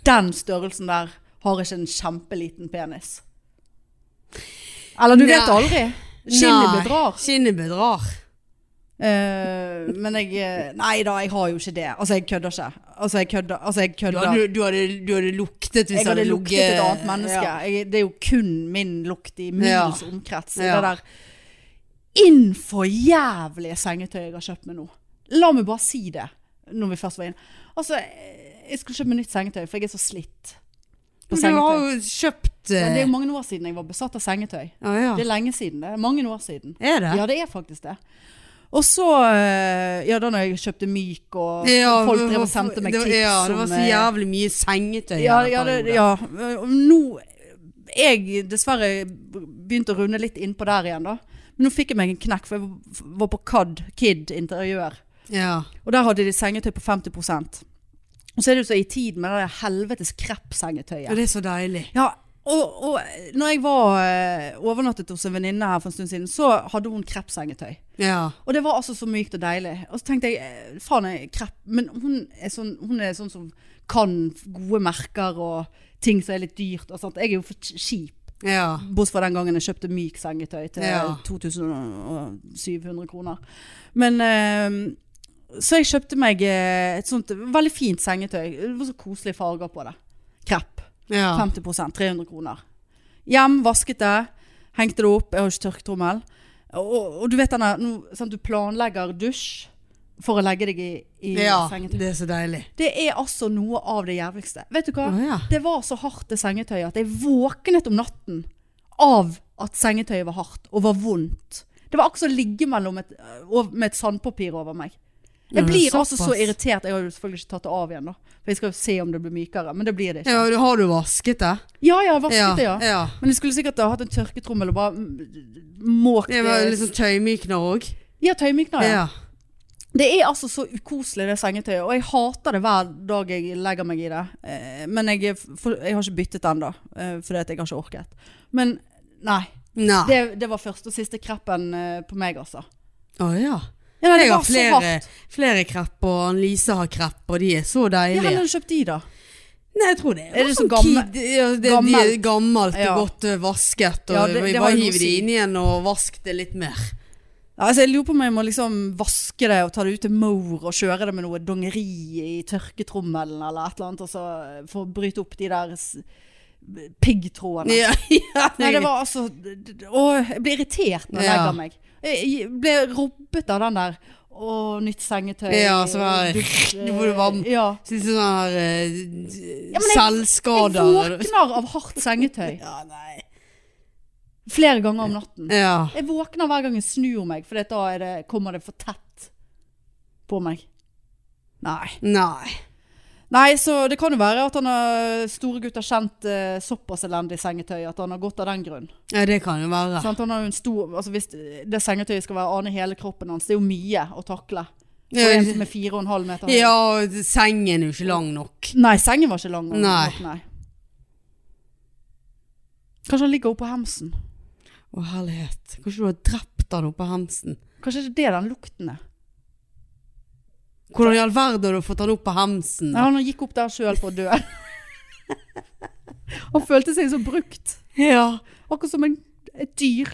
Speaker 1: den størrelsen der har ikke en kjempeliten penis. Eller du vet
Speaker 2: Nei.
Speaker 1: aldri. Skinnet
Speaker 2: nei,
Speaker 1: bedrar.
Speaker 2: Skinnet bedrar.
Speaker 1: Eh, men jeg eh, Nei da, jeg har jo ikke det. Altså, jeg kødder ikke. Altså, jeg kødder. Altså, jeg
Speaker 2: Du
Speaker 1: kødder.
Speaker 2: hadde, du, hadde, du hadde luktet hvis
Speaker 1: jeg hadde luktet
Speaker 2: ligget-
Speaker 1: et annet menneske. Jeg, det er jo kun min lukt i mils omkrets. i
Speaker 2: Ja.
Speaker 1: Det der innfor jævlige sengetøyet jeg har kjøpt meg nå. La meg bare si det, når vi først var inne. Altså, jeg skulle kjøpe meg nytt sengetøy, for jeg er så slitt på
Speaker 2: Men Du har
Speaker 1: sengetøy.
Speaker 2: jo kjøpt
Speaker 1: Men
Speaker 2: eh,
Speaker 1: det er jo mange år siden jeg var besatt av sengetøy.
Speaker 2: ah, ja.
Speaker 1: Det er lenge siden. det er Mange år siden.
Speaker 2: Er det?
Speaker 1: Ja, det er faktisk det. Og så eh, Ja, da når jeg kjøpte myk, og
Speaker 2: Ja,
Speaker 1: folk
Speaker 2: det
Speaker 1: drev
Speaker 2: var-
Speaker 1: og sendte meg
Speaker 2: det var-
Speaker 1: tips
Speaker 2: ja, det var
Speaker 1: om
Speaker 2: så
Speaker 1: eh,
Speaker 2: jævlig mye sengetøy. i
Speaker 1: ja,
Speaker 2: den
Speaker 1: ja, det,
Speaker 2: perioden.
Speaker 1: ja. Og Nå Jeg dessverre begynte å runde litt innpå der igjen, da. Men nå fikk jeg meg en knekk, for jeg var på CAD, Kid interiør.
Speaker 2: Ja.
Speaker 1: Og der hadde de sengetøy på 50 Og så er det jo så i tid med det der helvetes kreppsengetøyet.
Speaker 2: Og det er så deilig.
Speaker 1: Ja, og, og når jeg var eh, overnattet hos en venninne her for en stund siden, så hadde hun kreppsengetøy.
Speaker 2: Ja.
Speaker 1: Og det var altså så mykt og deilig. Og så tenkte jeg, eh, faen jeg krepp, men hun er, sånn, hun er sånn som kan gode merker og ting som er litt dyrt og sånt. Jeg er jo for kjip.
Speaker 2: Ja.
Speaker 1: Bortsett fra den gangen jeg kjøpte myk sengetøy til
Speaker 2: Ja.
Speaker 1: 2700 kroner. Men eh, Så jeg kjøpte meg eh, et sånt veldig fint sengetøy. Det var så koselige farger på det. Krepp.
Speaker 2: ja.
Speaker 1: 50 300 kroner. Hjem, vasket det, hengte det opp, jeg har ikke tørketrommel. Og, og du vet denne, nå, sant, du planlegger dusj for å legge deg i, i
Speaker 2: Ja,
Speaker 1: sengetøy.
Speaker 2: det er så deilig.
Speaker 1: Det er altså noe av det jævligste. Vet du hva?
Speaker 2: Å, ja.
Speaker 1: Det var så hardt det sengetøyet at jeg våknet om natten av at sengetøyet var hardt og var vondt. Det var akkurat som å ligge mellom et, og- med et sandpapir over meg. Jeg
Speaker 2: Ja,
Speaker 1: blir
Speaker 2: såpass.
Speaker 1: altså så irritert. Jeg har jo selvfølgelig ikke tatt det av igjen, da. For jeg skal jo se om det blir mykere. Men det blir det ikke.
Speaker 2: Ja, du- har du vasket det?
Speaker 1: Ja, ja, vasket det, ja.
Speaker 2: ja.
Speaker 1: Men jeg skulle sikkert ha hatt en tørketrommel og bare mm, måkt
Speaker 2: Det var litt sånn tøymykner òg.
Speaker 1: Ja, tøymykner, ja.
Speaker 2: Ja.
Speaker 1: Det er altså så ukoselig det sengetøyet, og jeg hater det hver dag jeg legger meg i det. Eh, Men jeg, er f- for, jeg har ikke byttet ennå, fordi at jeg har ikke orket. Men nei.
Speaker 2: Nei.
Speaker 1: Det, det var første og siste kreppen eh, på meg, altså.
Speaker 2: Å ja.
Speaker 1: Ja, nei, det
Speaker 2: Jeg har
Speaker 1: var så
Speaker 2: flere,
Speaker 1: hardt.
Speaker 2: flere krepp, og Annelise har krepp, og de er
Speaker 1: Ja,
Speaker 2: så
Speaker 1: hvor
Speaker 2: deilige.
Speaker 1: har du kjøpt de, da?
Speaker 2: Nei, jeg tror det
Speaker 1: Er det
Speaker 2: sånn
Speaker 1: så gammel-
Speaker 2: kid- ja, det, gammelt? De
Speaker 1: gammelt?
Speaker 2: er gammelt og
Speaker 1: Ja.
Speaker 2: godt eh, vasket, og
Speaker 1: Ja, det- det har
Speaker 2: bare
Speaker 1: jo noe å
Speaker 2: hiver de
Speaker 1: si.
Speaker 2: inn igjen og vask det litt mer.
Speaker 1: Ja, altså, jeg lurer på om jeg må liksom vaske det og ta det ut til Moor og kjøre det med noe dongeri i tørketrommelen eller et eller annet, og så eh, få bryte opp de der s- piggtrådene.
Speaker 2: Ja, *laughs* ja,
Speaker 1: *laughs* Nei, det var altså d- d- Å, jeg ble irritert når jeg
Speaker 2: Ja.
Speaker 1: legger meg. Jeg jeg ble robbet av den der Å, nytt sengetøy.
Speaker 2: Ja, så var det-
Speaker 1: dusj, eh,
Speaker 2: hvor *laughs* det var-
Speaker 1: Ja.
Speaker 2: Synes sånn her eh,
Speaker 1: Ja, men jeg- Jeg
Speaker 2: selvskader.
Speaker 1: våkner av hardt sengetøy
Speaker 2: *laughs* Ja, nei.
Speaker 1: flere ganger om natten.
Speaker 2: Ja.
Speaker 1: Jeg våkner hver gang jeg snur meg, for da er det, kommer det for tett på meg. Nei.
Speaker 2: Nei.
Speaker 1: Nei, så det kan jo være at han har store gutter kjent eh, såpass elendig sengetøy at han har gått av den grunn.
Speaker 2: Ja, det kan jo være.
Speaker 1: Sant? Han har jo en stor, altså hvis det sengetøyet skal være ane hele kroppen hans, det er jo mye å takle. For en som er fire og en halv meter høy.
Speaker 2: Ja, sengen er jo ikke lang nok.
Speaker 1: Nei, sengen var ikke lang. nok,
Speaker 2: Nei.
Speaker 1: Nei. Kanskje han ligger oppå hemsen.
Speaker 2: Å, herlighet. Kanskje du har drept han oppe i hemsen?
Speaker 1: Kanskje det er den lukten er.
Speaker 2: Hvordan i all verden har du fått han opp av hemsen?
Speaker 1: Nei, han gikk opp der sjøl for å dø. *laughs* han følte seg så brukt.
Speaker 2: Ja.
Speaker 1: Akkurat som en, et dyr.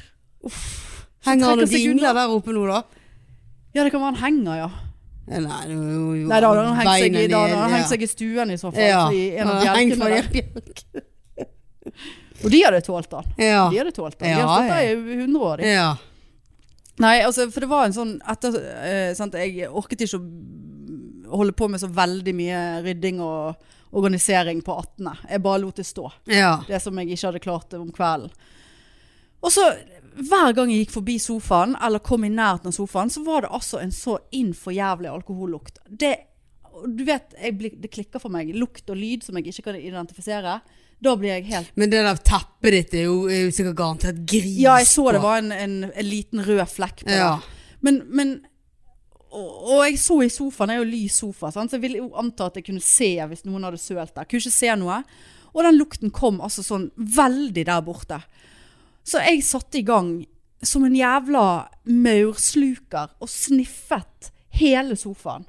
Speaker 2: Henger han
Speaker 1: trekker
Speaker 2: og
Speaker 1: seg unna.
Speaker 2: dingler der oppe nå, da?
Speaker 1: Ja, det kan være han henger, ja.
Speaker 2: Eh, Nei, det er jo, jo
Speaker 1: Nei, da hadde han hengt seg, i-
Speaker 2: beina
Speaker 1: da hadde han
Speaker 2: ned,
Speaker 1: hengt seg i stuen i så fall.
Speaker 2: ja.
Speaker 1: I en av
Speaker 2: Ja, hengt
Speaker 1: bjelkene
Speaker 2: fra
Speaker 1: der.
Speaker 2: en bjelke.
Speaker 1: Og de hadde tålt han.
Speaker 2: Ja.
Speaker 1: De hadde tålt han. De
Speaker 2: Ja,
Speaker 1: har stått
Speaker 2: ja.
Speaker 1: der i 100 år. de.
Speaker 2: ja.
Speaker 1: Nei, altså, for det var en sånn etter, eh, sant, Jeg orket ikke å holde på med så veldig mye rydding og organisering på 18. Jeg bare lot det stå.
Speaker 2: Ja.
Speaker 1: Det som jeg ikke hadde klart om kvelden. Og så hver gang jeg gikk forbi sofaen, eller kom i nærheten av sofaen, så var det altså en så innfor jævlig alkohollukt. Det, du vet, jeg blir, det klikker for meg. Lukt og lyd som jeg ikke kan identifisere. Da blir jeg helt
Speaker 2: Men det der teppet ditt er jo, er jo sikkert garantert gris
Speaker 1: Ja, jeg så det
Speaker 2: på.
Speaker 1: var en, en, en liten rød flekk på
Speaker 2: Ja.
Speaker 1: det. Men, men og, og jeg så i sofaen, det er jo lys sofa, sant? så jeg ville jo anta at jeg kunne se hvis noen hadde sølt der. Kunne ikke se noe. Og den lukten kom altså sånn veldig der borte. Så jeg satte i gang som en jævla maursluker og sniffet hele sofaen.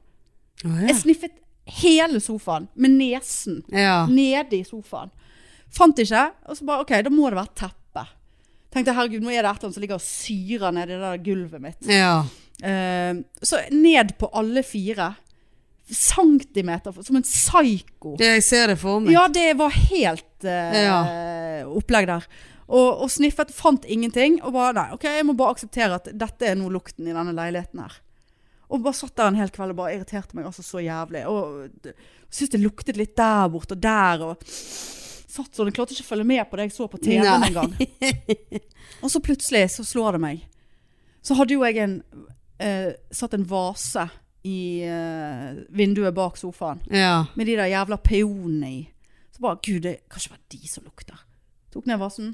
Speaker 1: Jeg sniffet hele sofaen med nesen
Speaker 2: ja.
Speaker 1: nede i sofaen. Fant ikke, og så bare OK, da må det være teppe. Tenkte herregud, nå er det et eller annet som ligger og syrer nedi det der gulvet mitt.
Speaker 2: ja.
Speaker 1: Eh, så ned på alle fire. Centimeter, som en psyko.
Speaker 2: Det, jeg ser det for meg.
Speaker 1: Ja, det var helt eh, opplegg der. Og, og sniffet, fant ingenting. Og bare nei, ok, jeg må bare akseptere at dette er nå lukten i denne leiligheten her. Og bare satt der en hel kveld og bare irriterte meg altså så jævlig. Og d- syntes det luktet litt der borte og der. Og satt sånn, jeg klarte ikke å følge med på det jeg så på TV-en
Speaker 2: Nei.
Speaker 1: engang. Og så plutselig så slår det meg. Så hadde jo jeg en eh, Satt en vase i eh, vinduet bak sofaen
Speaker 2: Ja.
Speaker 1: med de der jævla peonene i. Så bare, gud, det kan ikke være de som lukter. Tok ned vasen.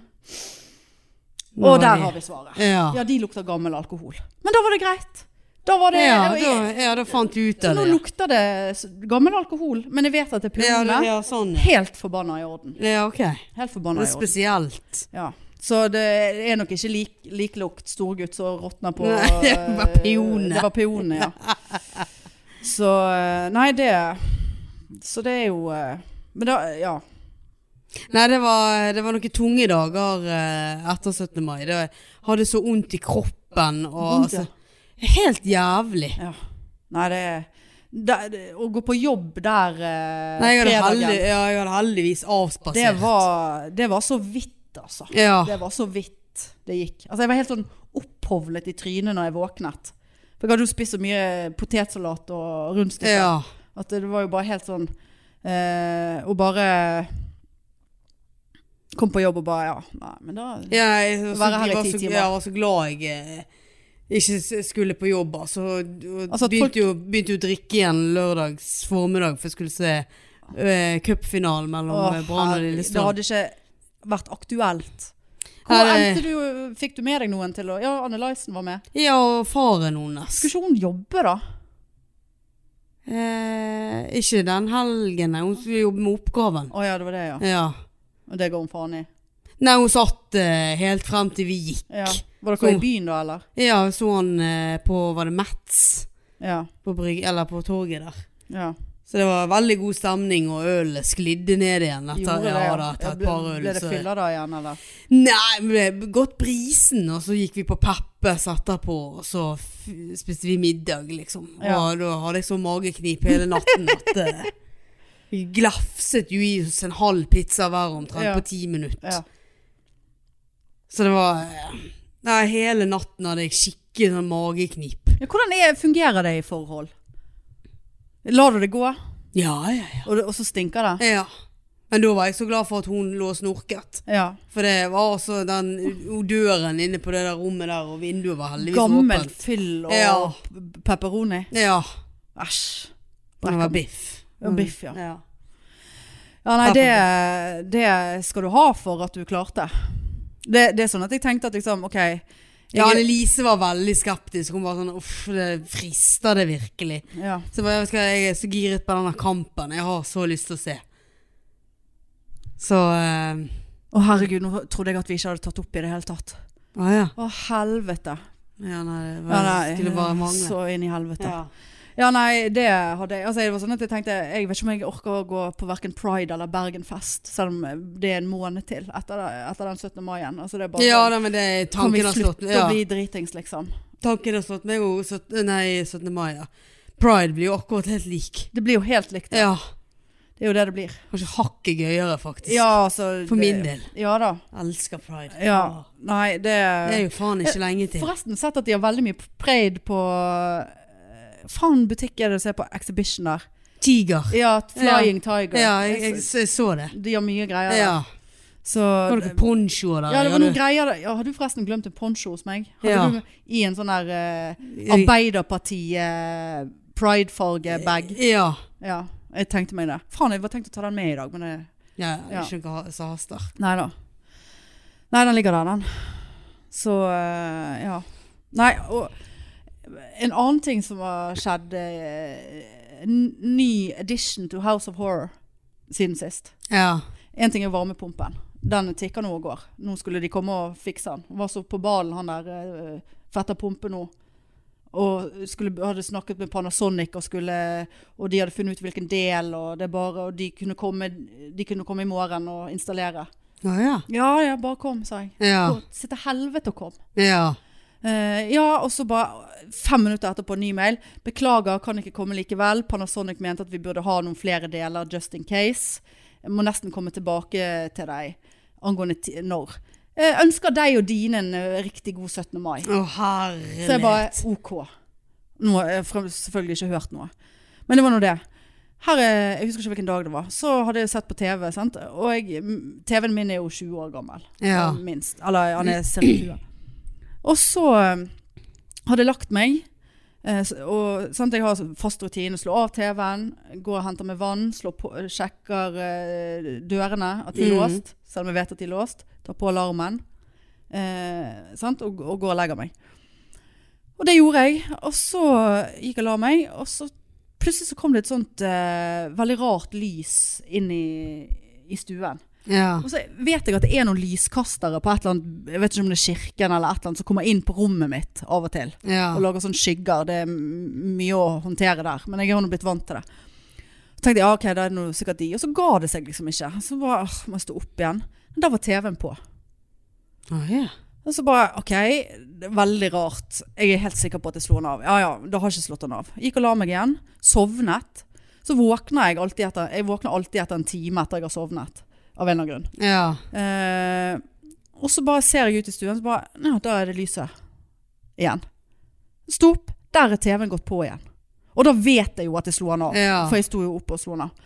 Speaker 2: Nå
Speaker 1: Og der
Speaker 2: vi-
Speaker 1: har vi svaret.
Speaker 2: Ja.
Speaker 1: Ja, de lukter gammel alkohol. Men da var det greit. Da var det...
Speaker 2: Ja, da, ja, da fant du ut
Speaker 1: så
Speaker 2: av
Speaker 1: nå
Speaker 2: det.
Speaker 1: lukter det s- gammel alkohol, men jeg vet at det er
Speaker 2: Ja,
Speaker 1: peonene.
Speaker 2: det- ja, sånn. ja.
Speaker 1: Helt forbanna i orden.
Speaker 2: Ja, ok. Det
Speaker 1: Helt forbanna
Speaker 2: er
Speaker 1: i orden.
Speaker 2: spesielt.
Speaker 1: Ja. Så det er nok ikke lik, lik lukt storgutt som råtner på
Speaker 2: Nei, *laughs* det var
Speaker 1: eh,
Speaker 2: peonene.
Speaker 1: Det var peonene, ja. Så eh, Nei, det Så det er jo eh, Men da Ja.
Speaker 2: Nei, det var, det var noen tunge dager eh, etter 17. mai. Det hadde så vondt i kroppen. Og,
Speaker 1: Vondt, ja.
Speaker 2: altså, helt jævlig.
Speaker 1: Ja. Nei, det er det- det- Å gå på jobb der eh,
Speaker 2: Nei, jeg hadde,
Speaker 1: fredagen,
Speaker 2: heldig, ja, jeg hadde heldigvis avspasert.
Speaker 1: det, var, det var så vidt, altså.
Speaker 2: ja.
Speaker 1: Det var så vidt det gikk. Altså, jeg var helt sånn opphovlet i trynet når jeg våknet. For jeg hadde jo spist så mye potetsalat og rundstykker.
Speaker 2: ja.
Speaker 1: At det var jo bare helt sånn eh, Og bare kom på jobb og bare Ja, nei, men da
Speaker 2: ja jeg, så,
Speaker 1: Være her i
Speaker 2: jeg, var
Speaker 1: ti
Speaker 2: så,
Speaker 1: timer.
Speaker 2: jeg var så glad jeg eh, ikke s- skulle på jobb. Altså, og
Speaker 1: Altså, at
Speaker 2: begynte,
Speaker 1: folk-
Speaker 2: jo, begynte jo å drikke igjen lørdags formiddag, for jeg skulle se eh, cupfinalen mellom
Speaker 1: Åh,
Speaker 2: eh, Brann og
Speaker 1: herregud, Det
Speaker 2: Lillestrøm.
Speaker 1: hadde ikke vært aktuelt.
Speaker 2: Nei,
Speaker 1: Hvor
Speaker 2: det-
Speaker 1: endte du, fikk du med deg noen til å Ja, Anne Lysen var med.
Speaker 2: Ja, og faren hennes.
Speaker 1: Skulle ikke hun jobbe, da?
Speaker 2: Eh, ikke den helgen, nei. Hun skulle jobbe med oppgaven.
Speaker 1: Å ja, det var det, ja.
Speaker 2: Ja.
Speaker 1: Og det ga hun faen i.
Speaker 2: Nei, hun satt eh, helt frem til vi gikk.
Speaker 1: Ja. Var
Speaker 2: Så-
Speaker 1: dere i byen da, eller?
Speaker 2: Ja, jeg så han eh, på, var det Metz?
Speaker 1: Ja.
Speaker 2: På brygg, eller på torget der.
Speaker 1: ja.
Speaker 2: Så det var veldig god stemning, og ølet sklidde ned igjen
Speaker 1: Gjorde
Speaker 2: etter,
Speaker 1: det,
Speaker 2: ja, da,
Speaker 1: Ja,
Speaker 2: etter et
Speaker 1: ble-
Speaker 2: par øl.
Speaker 1: Ble det
Speaker 2: så-
Speaker 1: fylla da igjen, eller?
Speaker 2: Nei, men det gått brisen, og så gikk vi på Peppes etterpå, og så f spiste vi middag, liksom.
Speaker 1: Ja.
Speaker 2: Og da hadde jeg så mageknip hele natten at eh, vi glafset jo i oss en halv pizza hver omtrent
Speaker 1: Ja.
Speaker 2: på ti minutter.
Speaker 1: Ja.
Speaker 2: Så det var eh, Nei, hele natten hadde jeg skikkelig sånn mageknip.
Speaker 1: Ja, hvordan er, fungerer det i forhold? Lar du det gå, og,
Speaker 2: Ja, ja, ja.
Speaker 1: det- og så stinker det?
Speaker 2: ja. Men da var jeg så glad for at hun lå og snorket.
Speaker 1: Ja.
Speaker 2: For det var også den u- døren inne på det der rommet der, og vinduet var heldigvis
Speaker 1: Gammelt
Speaker 2: åpent.
Speaker 1: fyll og
Speaker 2: Ja.
Speaker 1: p- pepperoni?
Speaker 2: Ja.
Speaker 1: Æsj.
Speaker 2: Og det var biff. Mm.
Speaker 1: Ja, biff, ja.
Speaker 2: ja.
Speaker 1: Ja, nei, det, det skal du ha for at du klarte. Det, det er sånn at jeg tenkte at liksom, ok jeg,
Speaker 2: Ja, Annelise var veldig skeptisk. Hun var sånn Uff, det frister det virkelig?
Speaker 1: ja.
Speaker 2: Så jeg, bare, vet du hva, jeg er så giret på denne kampen. Jeg har så lyst til å se. Så eh,
Speaker 1: Å herregud, nå trodde jeg at vi ikke hadde tatt opp i det hele tatt.
Speaker 2: Å ja.
Speaker 1: Å helvete.
Speaker 2: ja nei, det
Speaker 1: Ja,
Speaker 2: var,
Speaker 1: nei,
Speaker 2: skulle bare mangle.
Speaker 1: Så inn i helvete. Ja.
Speaker 2: Ja.
Speaker 1: nei, det hadde jeg. Altså, det var sånn at jeg tenkte, jeg vet ikke om jeg orker å gå på hverken Pride eller Bergenfest, selv om eh, det er en måned til etter, etter den 17. mai igjen. Altså, det er bare,
Speaker 2: ja
Speaker 1: sånn,
Speaker 2: da, men det
Speaker 1: kan vi
Speaker 2: tanken har slått
Speaker 1: slutte
Speaker 2: ja,
Speaker 1: å bli dritings, liksom?
Speaker 2: Tanken har slått meg jo sytt- Nei, 17. mai, ja. Pride blir jo akkurat helt lik.
Speaker 1: Det blir jo helt likt.
Speaker 2: Ja.
Speaker 1: Det er jo det det blir.
Speaker 2: Kanskje hakket gøyere, faktisk.
Speaker 1: Ja, altså,
Speaker 2: For min
Speaker 1: det-
Speaker 2: del.
Speaker 1: Ja da.
Speaker 2: Elsker pride.
Speaker 1: Ja. Nei, det
Speaker 2: Det er jo faen ikke lenge til.
Speaker 1: Forresten, sett at de har veldig mye pride på eh, Faen butikk er det å se på Exhibition der.
Speaker 2: Tiger.
Speaker 1: Ja, Flying Tiger.
Speaker 2: Ja, jeg, jeg, jeg så det.
Speaker 1: De har mye greier. der.
Speaker 2: Ja.
Speaker 1: Så
Speaker 2: Var det ikke ponchoer der?
Speaker 1: ja, det var noen
Speaker 2: du-
Speaker 1: greier der. Ja, har du forresten glemt en poncho hos meg? Hadde
Speaker 2: Ja.
Speaker 1: du I en sånn der eh, Arbeiderparti-pridefarge-bag.
Speaker 2: Ja.
Speaker 1: ja, jeg tenkte meg det. Faen, jeg var tenkt å ta den med i dag, men eh, det
Speaker 2: ja
Speaker 1: Ja.
Speaker 2: jeg skjønner hva som haster.
Speaker 1: Nei da. Nei, den ligger der, den. Så eh, ja. Nei, og en annen ting som har skjedd eh, n- Ny edition to House of Horror siden sist.
Speaker 2: Ja.
Speaker 1: Én ting er varmepumpen. den tikker nå og går. Nå skulle de komme og fikse han. Var så på ballen han der eh, fetter Pumpe nå. Og skulle, hadde snakket med Panasonic, og, skulle, og de hadde funnet ut hvilken del. Og, det bare, og de, kunne komme, de kunne komme i morgen og installere.
Speaker 2: Å ja.
Speaker 1: Ja, ja, bare kom, sa jeg.
Speaker 2: Ja.
Speaker 1: Ja. Se til helvete og kom.
Speaker 2: ja.
Speaker 1: Eh, ja, og så bare fem minutter etterpå ny mail. Beklager, kan ikke komme likevel. Panasonic mente at vi burde ha noen flere deler just in case. Jeg må nesten komme tilbake til deg angående ti når. Eh, ønsker deg og dine en eh, riktig god 17. mai.
Speaker 2: Å herlighet.
Speaker 1: Så jeg bare OK. Nå har jeg frem- selvfølgelig ikke hørt noe. Men det var nå det. Her, er- jeg husker ikke hvilken dag det var. Så hadde jeg sett på TV. Sant? Og jeg- m- TV-en min er jo 20 år gammel.
Speaker 2: Ja.
Speaker 1: Minst. Eller han er ca. 20. Og så eh, hadde jeg lagt meg. eh, s- Og, sant? Jeg har sånn fast rutine. Slå av TV-en, går og henter meg vann, slår på, sjekker eh, dørene at de er
Speaker 2: Mhm.
Speaker 1: låst. Selv om jeg vet at de er låst. Tar på alarmen. Eh, sant? Og, og går og legger meg. Og det gjorde jeg. Og så gikk jeg og la meg, og så plutselig så kom det et sånt eh, veldig rart lys inn i, i stuen.
Speaker 2: ja.
Speaker 1: Og så vet jeg at det er noen lyskastere på et eller annet, jeg vet ikke om det er kirken eller et eller annet, som kommer inn på rommet mitt av og til.
Speaker 2: Ja.
Speaker 1: Og lager sånne skygger. Det er m- mye å håndtere der. Men jeg har nå blitt vant til det. Så tenkte jeg, ja, ok, da er det noe sikkert de. Og så ga det seg liksom ikke. Så bare, åh, må jeg stå opp igjen. Men da var TV-en på.
Speaker 2: Å ja.
Speaker 1: Og så bare, ok, det er veldig rart. Jeg er helt sikker på at jeg slo han av. Ja, ja, da har jeg ikke slått han av. Gikk og la meg igjen, sovnet. Så våkner jeg alltid etter, jeg våkner alltid etter en time etter jeg har sovnet. Av en eller annen grunn.
Speaker 2: Ja.
Speaker 1: Eh, og så bare ser jeg ut i stuen, så bare, ja, da er det lyset. Igjen. Stå opp, der er TV-en gått på igjen. Og da vet jeg jo at jeg slo han av.
Speaker 2: Ja.
Speaker 1: For jeg sto jo opp og slo han av.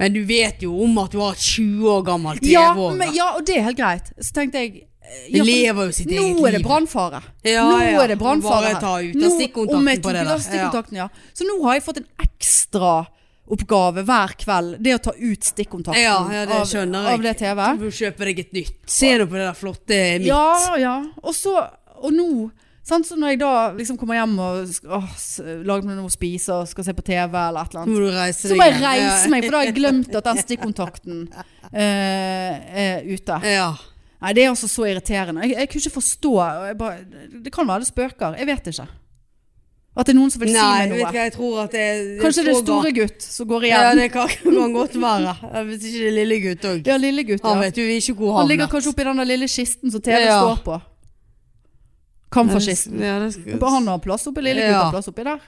Speaker 2: Men du vet jo om at du har et 20 år gammelt TV
Speaker 1: Ja,
Speaker 2: òg.
Speaker 1: men, ja, og det er helt greit. Så tenkte jeg, eh, ja,
Speaker 2: Det
Speaker 1: for
Speaker 2: lever jo sitt eget liv.
Speaker 1: nå er det brannfare.
Speaker 2: Ja,
Speaker 1: nå
Speaker 2: ja.
Speaker 1: er det brannfare
Speaker 2: Bare
Speaker 1: her.
Speaker 2: ta ut
Speaker 1: Nå-
Speaker 2: av
Speaker 1: om jeg tok
Speaker 2: stikkontakten på det
Speaker 1: ut av
Speaker 2: der. Ja.
Speaker 1: stikkontakten, ja. Så nå har jeg fått en ekstra oppgave hver kveld. Det å ta ut stikkontakten
Speaker 2: Ja, ja, det skjønner
Speaker 1: av,
Speaker 2: jeg.
Speaker 1: av det TV.
Speaker 2: Du får kjøpe deg et nytt. Se nå på det der flotte mitt.
Speaker 1: Ja, ja. Og, så, og nå sant? Så når jeg da liksom kommer hjem og sk- åh, s- lager meg noe å spise og skal se på TV eller et eller
Speaker 2: Så
Speaker 1: annet
Speaker 2: må du reise
Speaker 1: så
Speaker 2: deg
Speaker 1: må jeg
Speaker 2: igjen.
Speaker 1: reise meg, for da har jeg glemt at den stikkontakten
Speaker 2: *laughs*
Speaker 1: eh, er ute.
Speaker 2: Ja. ja.
Speaker 1: Nei, det er altså så irriterende. Jeg, jeg kunne ikke forstå og jeg bare, Det kan være det spøker. Jeg vet ikke. At det er noen som vil si
Speaker 2: Nei, du
Speaker 1: meg
Speaker 2: vet
Speaker 1: noe.
Speaker 2: hva, jeg tror at det det er
Speaker 1: Kanskje det er
Speaker 2: få
Speaker 1: store
Speaker 2: ganger-
Speaker 1: gutt som går igjen.
Speaker 2: Ja,
Speaker 1: Ja,
Speaker 2: det kan, kan godt være. Hvis ikke det er lille gutt òg.
Speaker 1: lille gutt.
Speaker 2: Han
Speaker 1: Ja.
Speaker 2: vet jo ikke hvor
Speaker 1: Han
Speaker 2: han
Speaker 1: ligger kanskje oppi den der lille kisten som TV
Speaker 2: Ja.
Speaker 1: står på. Kamferkisten.
Speaker 2: Ja, det skal-
Speaker 1: Han har plass oppi, lille gutt
Speaker 2: Ja.
Speaker 1: har plass oppi der.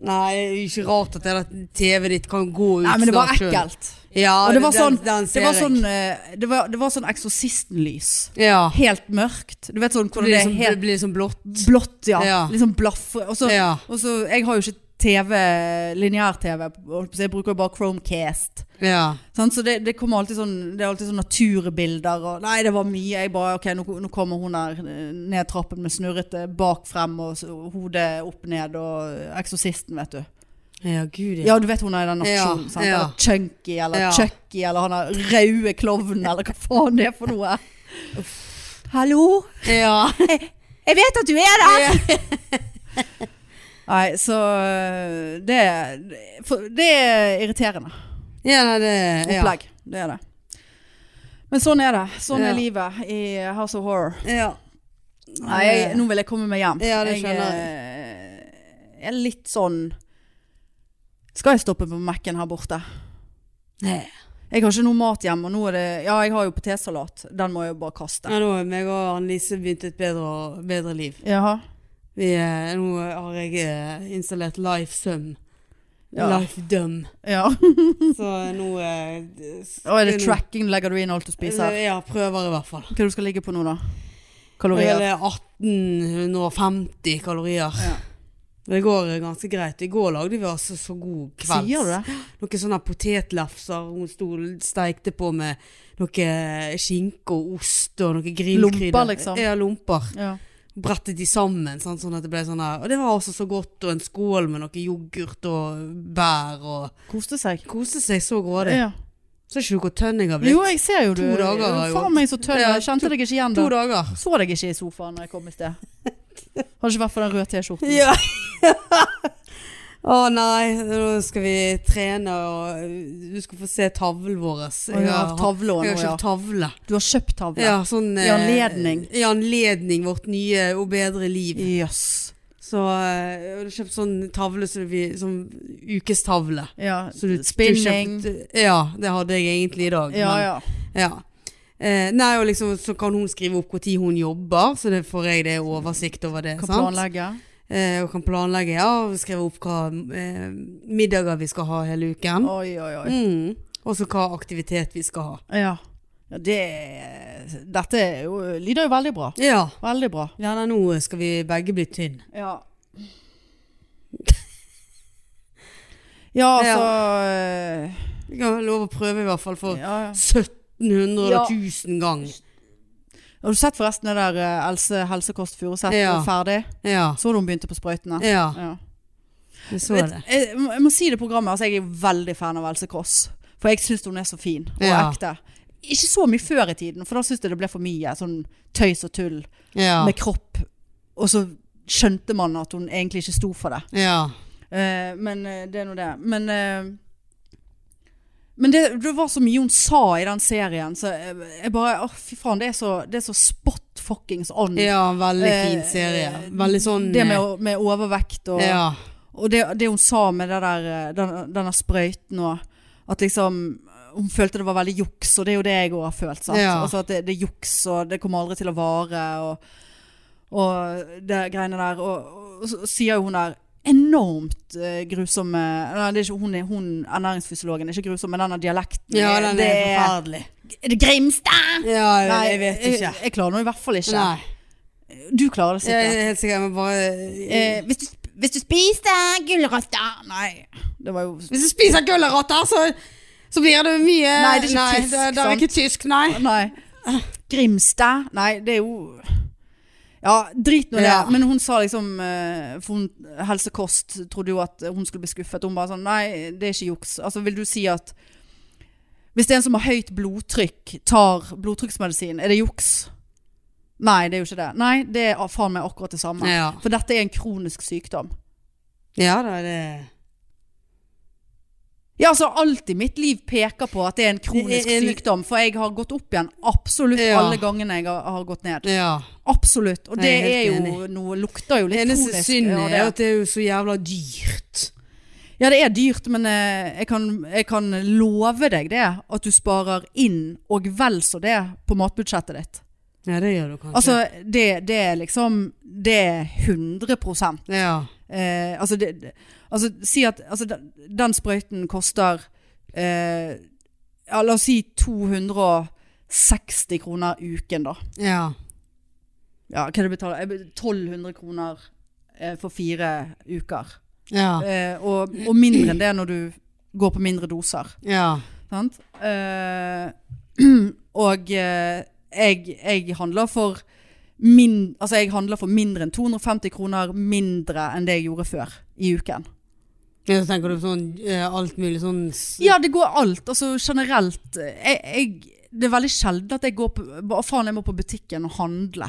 Speaker 2: Nei, det er ikke rart at det der TV-et ditt kan gå ut
Speaker 1: Nei, men det var
Speaker 2: snart selv.
Speaker 1: ekkelt.
Speaker 2: Ja,
Speaker 1: Og det var sånn,
Speaker 2: den, den
Speaker 1: det
Speaker 2: ser
Speaker 1: var sånn,
Speaker 2: jeg.
Speaker 1: eh, det var, det var sånn eksorsistenlys.
Speaker 2: Ja.
Speaker 1: Helt mørkt. Du vet sånn
Speaker 2: Det
Speaker 1: hvordan
Speaker 2: blir
Speaker 1: det er
Speaker 2: liksom, det
Speaker 1: helt
Speaker 2: blir liksom blått.
Speaker 1: blått, ja.
Speaker 2: Ja.
Speaker 1: Litt sånn blafre. Og så
Speaker 2: Ja.
Speaker 1: Og så, jeg har jo ikke TV, lineær-TV, så jeg bruker jo bare Chromecast.
Speaker 2: Ja.
Speaker 1: Sant? Så det, det kommer alltid sånn, det er alltid sånn naturbilder og Nei, det var mye. Jeg bare, ok, nå, nå kommer hun her eh, ned trappen med snurrete bak frem og s- og hodet opp ned og eksorsisten, vet du.
Speaker 2: Ja, gud ja.
Speaker 1: Ja, du vet hun er i den nasjonen,
Speaker 2: Ja,
Speaker 1: sant?
Speaker 2: ja.
Speaker 1: Eller Chunky, eller
Speaker 2: Ja.
Speaker 1: Chucky, eller han er røde klovnen, eller hva faen det er for noe. Hallo?
Speaker 2: Ja.
Speaker 1: Jeg vet at du er der! *laughs* Nei, så øh, det, er- for- det er irriterende
Speaker 2: ja, nei, det ja.
Speaker 1: opplegg. Det er det. Men sånn er det. Sånn
Speaker 2: Ja.
Speaker 1: er livet i House of Horror.
Speaker 2: Ja. Eh,
Speaker 1: Nei, jeg, nå vil jeg komme meg hjem.
Speaker 2: Ja, det
Speaker 1: jeg
Speaker 2: skjønner
Speaker 1: eh, er litt sånn Skal jeg stoppe på Mac-en her borte?
Speaker 2: Nei.
Speaker 1: Jeg har ikke noe mat hjemme, og nå er det Ja, jeg har jo potetsalat. Den må jeg jo bare kaste.
Speaker 2: Ja, nå har meg og Annelise begynt et bedre, bedre liv.
Speaker 1: Jaha.
Speaker 2: Vi, eh, nå har jeg eh, installert Life Sum.
Speaker 1: Ja.
Speaker 2: Life Dum.
Speaker 1: *laughs* ja.
Speaker 2: Så nå eh, s-
Speaker 1: Og er det
Speaker 2: nå-
Speaker 1: tracking? Legger du inn alt du spiser?
Speaker 2: Ja, prøver i hvert fall.
Speaker 1: Hva er det du skal ligge på nå, da?
Speaker 2: Eller
Speaker 1: Kalorier?
Speaker 2: 1850 kalorier.
Speaker 1: Ja.
Speaker 2: Det går eh, ganske greit. I går lagde vi altså så god kvelds.
Speaker 1: Sier du det?
Speaker 2: Noen sånne potetlefser hun sto steikte på med noe skinke og ost og noe grillkrydder.
Speaker 1: Lomper, liksom?
Speaker 2: Ja, lomper.
Speaker 1: Ja.
Speaker 2: Brettet de sammen, sant, sånn at det ble sånn her. Og det var altså så godt, og en skål med noe yoghurt og bær og
Speaker 1: Koste seg?
Speaker 2: Koste seg så grådig.
Speaker 1: Ja.
Speaker 2: Så ikke du hvor tønn jeg har blitt?
Speaker 1: Jo, jeg ser jo du.
Speaker 2: To dager har jeg
Speaker 1: Faen
Speaker 2: gått.
Speaker 1: meg så tønn.
Speaker 2: Ja,
Speaker 1: Jeg kjente deg ikke igjen da.
Speaker 2: To dager.
Speaker 1: Så deg ikke i *laughs* sofaen da jeg kom i sted. Har ikke vært for den røde T-skjorten.
Speaker 2: Ja. *laughs* Å nei, nå skal vi trene og øh, Du skal få se tavlen vår.
Speaker 1: Å, ja, tavla nå,
Speaker 2: jeg har
Speaker 1: ja.
Speaker 2: kjøpt tavle.
Speaker 1: Du har kjøpt tavle?
Speaker 2: Ja, sånn,
Speaker 1: I anledning.
Speaker 2: eh, I anledning vårt nye og bedre liv.
Speaker 1: Jøss.
Speaker 2: Så eh, jeg har kjøpt sånn tavle som vi Sånn ukestavle.
Speaker 1: Ja.
Speaker 2: Så du,
Speaker 1: Spinning.
Speaker 2: Du kjøpte, ja, det hadde jeg egentlig i dag.
Speaker 1: Ja,
Speaker 2: men-
Speaker 1: ja.
Speaker 2: Ja. Eh, nei, og liksom, så kan hun skrive opp når hun jobber, så det får jeg det oversikt over det.
Speaker 1: Kan
Speaker 2: sant?
Speaker 1: planlegge.
Speaker 2: Eh, og kan planlegge, ja, og skrive opp hva eh, middager vi skal ha hele uken.
Speaker 1: Oi, oi, oi.
Speaker 2: Mm. Og så hva aktivitet vi skal ha.
Speaker 1: Ja. ja det Dette er jo, lyder jo veldig bra.
Speaker 2: Ja.
Speaker 1: Veldig bra.
Speaker 2: ja nei, nå skal vi begge bli tynn.
Speaker 1: Ja. *laughs* Ja, altså eh,
Speaker 2: Vi kan ha lov å prøve i hvert fall for
Speaker 1: ja, ja.
Speaker 2: 1700
Speaker 1: Ja.
Speaker 2: eller 1000 gang.
Speaker 1: Har du sett forresten det der eh, Else Helsekost Furuseth
Speaker 2: Ja.
Speaker 1: var ferdig?
Speaker 2: Ja.
Speaker 1: Så du hun begynte på sprøytene?
Speaker 2: Ja,
Speaker 1: Ja.
Speaker 2: jeg så
Speaker 1: Vet,
Speaker 2: det.
Speaker 1: jeg, må- jeg må si det programmet, altså jeg er veldig fan av Else Kåss. For jeg syns hun er så fin og
Speaker 2: Ja.
Speaker 1: ekte. Ikke så mye før i tiden, for da syns jeg det ble for mye sånn tøys og tull
Speaker 2: Ja.
Speaker 1: med kropp. Og så skjønte man at hun egentlig ikke sto for det.
Speaker 2: ja.
Speaker 1: Eh, men eh, det er nå det. Men, eh, men det, det var så mye hun sa i den serien, så jeg, jeg bare Å, fy faen, det er så, det er så spot fuckings on.
Speaker 2: Ja, veldig fin
Speaker 1: Eh,
Speaker 2: serie.
Speaker 1: eh,
Speaker 2: Veldig sånn
Speaker 1: Det
Speaker 2: eh,
Speaker 1: med, å- med overvekt og
Speaker 2: Ja.
Speaker 1: Og det, det hun sa med det der, eh, den, denne sprøyten og At liksom Hun følte det var veldig juks, og det er jo det jeg òg har følt. Sant?
Speaker 2: Ja.
Speaker 1: Altså at det, det er juks, og det kommer aldri til å vare, og, og det greiene der. Og, og så sier jo hun der enormt eh, grusomme Nei, det er ikke, hun, er, hun ernæringsfysiologen er ikke grusom, men denne dialekten
Speaker 2: ja, den
Speaker 1: det
Speaker 2: er forferdelig.
Speaker 1: Er det Grimstad?
Speaker 2: Ja,
Speaker 1: Nei,
Speaker 2: jeg vet ikke.
Speaker 1: Jeg, jeg klarer nå i hvert fall ikke.
Speaker 2: Nei.
Speaker 1: Du klarer det
Speaker 2: Jeg
Speaker 1: sikkert.
Speaker 2: er helt sikker, jeg må bare
Speaker 1: Eh, hvis, du, hvis du spiste gulrøtter Nei, det var jo
Speaker 2: Hvis du spiser gulrøtter, så, så blir det mye
Speaker 1: Nei, det er ikke tysk,
Speaker 2: det, det er
Speaker 1: sant?
Speaker 2: ikke tysk, nei.
Speaker 1: Nei. Grimstad? Nei, det er jo Ja, drit nå i det.
Speaker 2: Ja.
Speaker 1: Men hun sa liksom eh, For hun, Helse Kost trodde jo at hun skulle bli skuffet. Hun bare sånn Nei, det er ikke juks. Altså, vil du si at hvis det er en som har høyt blodtrykk, tar blodtrykksmedisin, er det juks? Nei, det er jo ikke det. Nei, det er faen meg akkurat det samme.
Speaker 2: Ja.
Speaker 1: For dette er en kronisk sykdom.
Speaker 2: ja da, det
Speaker 1: Ja, altså alt i mitt liv peker på at det er en kronisk
Speaker 2: Det er en-
Speaker 1: sykdom, for jeg har gått opp igjen absolutt
Speaker 2: Ja.
Speaker 1: alle gangene jeg har, har gått ned.
Speaker 2: Ja.
Speaker 1: Absolutt. Og
Speaker 2: Jeg
Speaker 1: det
Speaker 2: er
Speaker 1: er
Speaker 2: helt
Speaker 1: jo noe Lukter jo
Speaker 2: Det
Speaker 1: litt
Speaker 2: eneste
Speaker 1: kronisk.
Speaker 2: synd er
Speaker 1: ja,
Speaker 2: at det er jo så jævla dyrt.
Speaker 1: det. ja, det er dyrt, men eh, jeg kan, jeg kan love deg det. At du sparer inn og vel så det på matbudsjettet ditt.
Speaker 2: Ja, det gjør du kanskje.
Speaker 1: Altså, det, det er liksom Det er 100
Speaker 2: ja.
Speaker 1: Eh, altså, det, det- altså, si at altså, den, den sprøyten koster eh, ja, La oss si 260 kroner uken, da.
Speaker 2: ja.
Speaker 1: Ja, hva er det betaler? Jeg be- 1200 kroner eh, for fire uker.
Speaker 2: Ja.
Speaker 1: Eh, og, og mindre enn det når du går på mindre doser.
Speaker 2: Ja.
Speaker 1: Sant? Eh, *clears throat* og eh, jeg, jeg handler for min, altså jeg handler for mindre enn 250 kroner mindre enn det jeg gjorde før i uken.
Speaker 2: ja. Så tenker du på sånn eh, alt mulig sånn s-
Speaker 1: Ja, det går alt. Altså generelt. Jeg, jeg, det er veldig sjelden at jeg går på bare, Faen, jeg må på butikken og handle.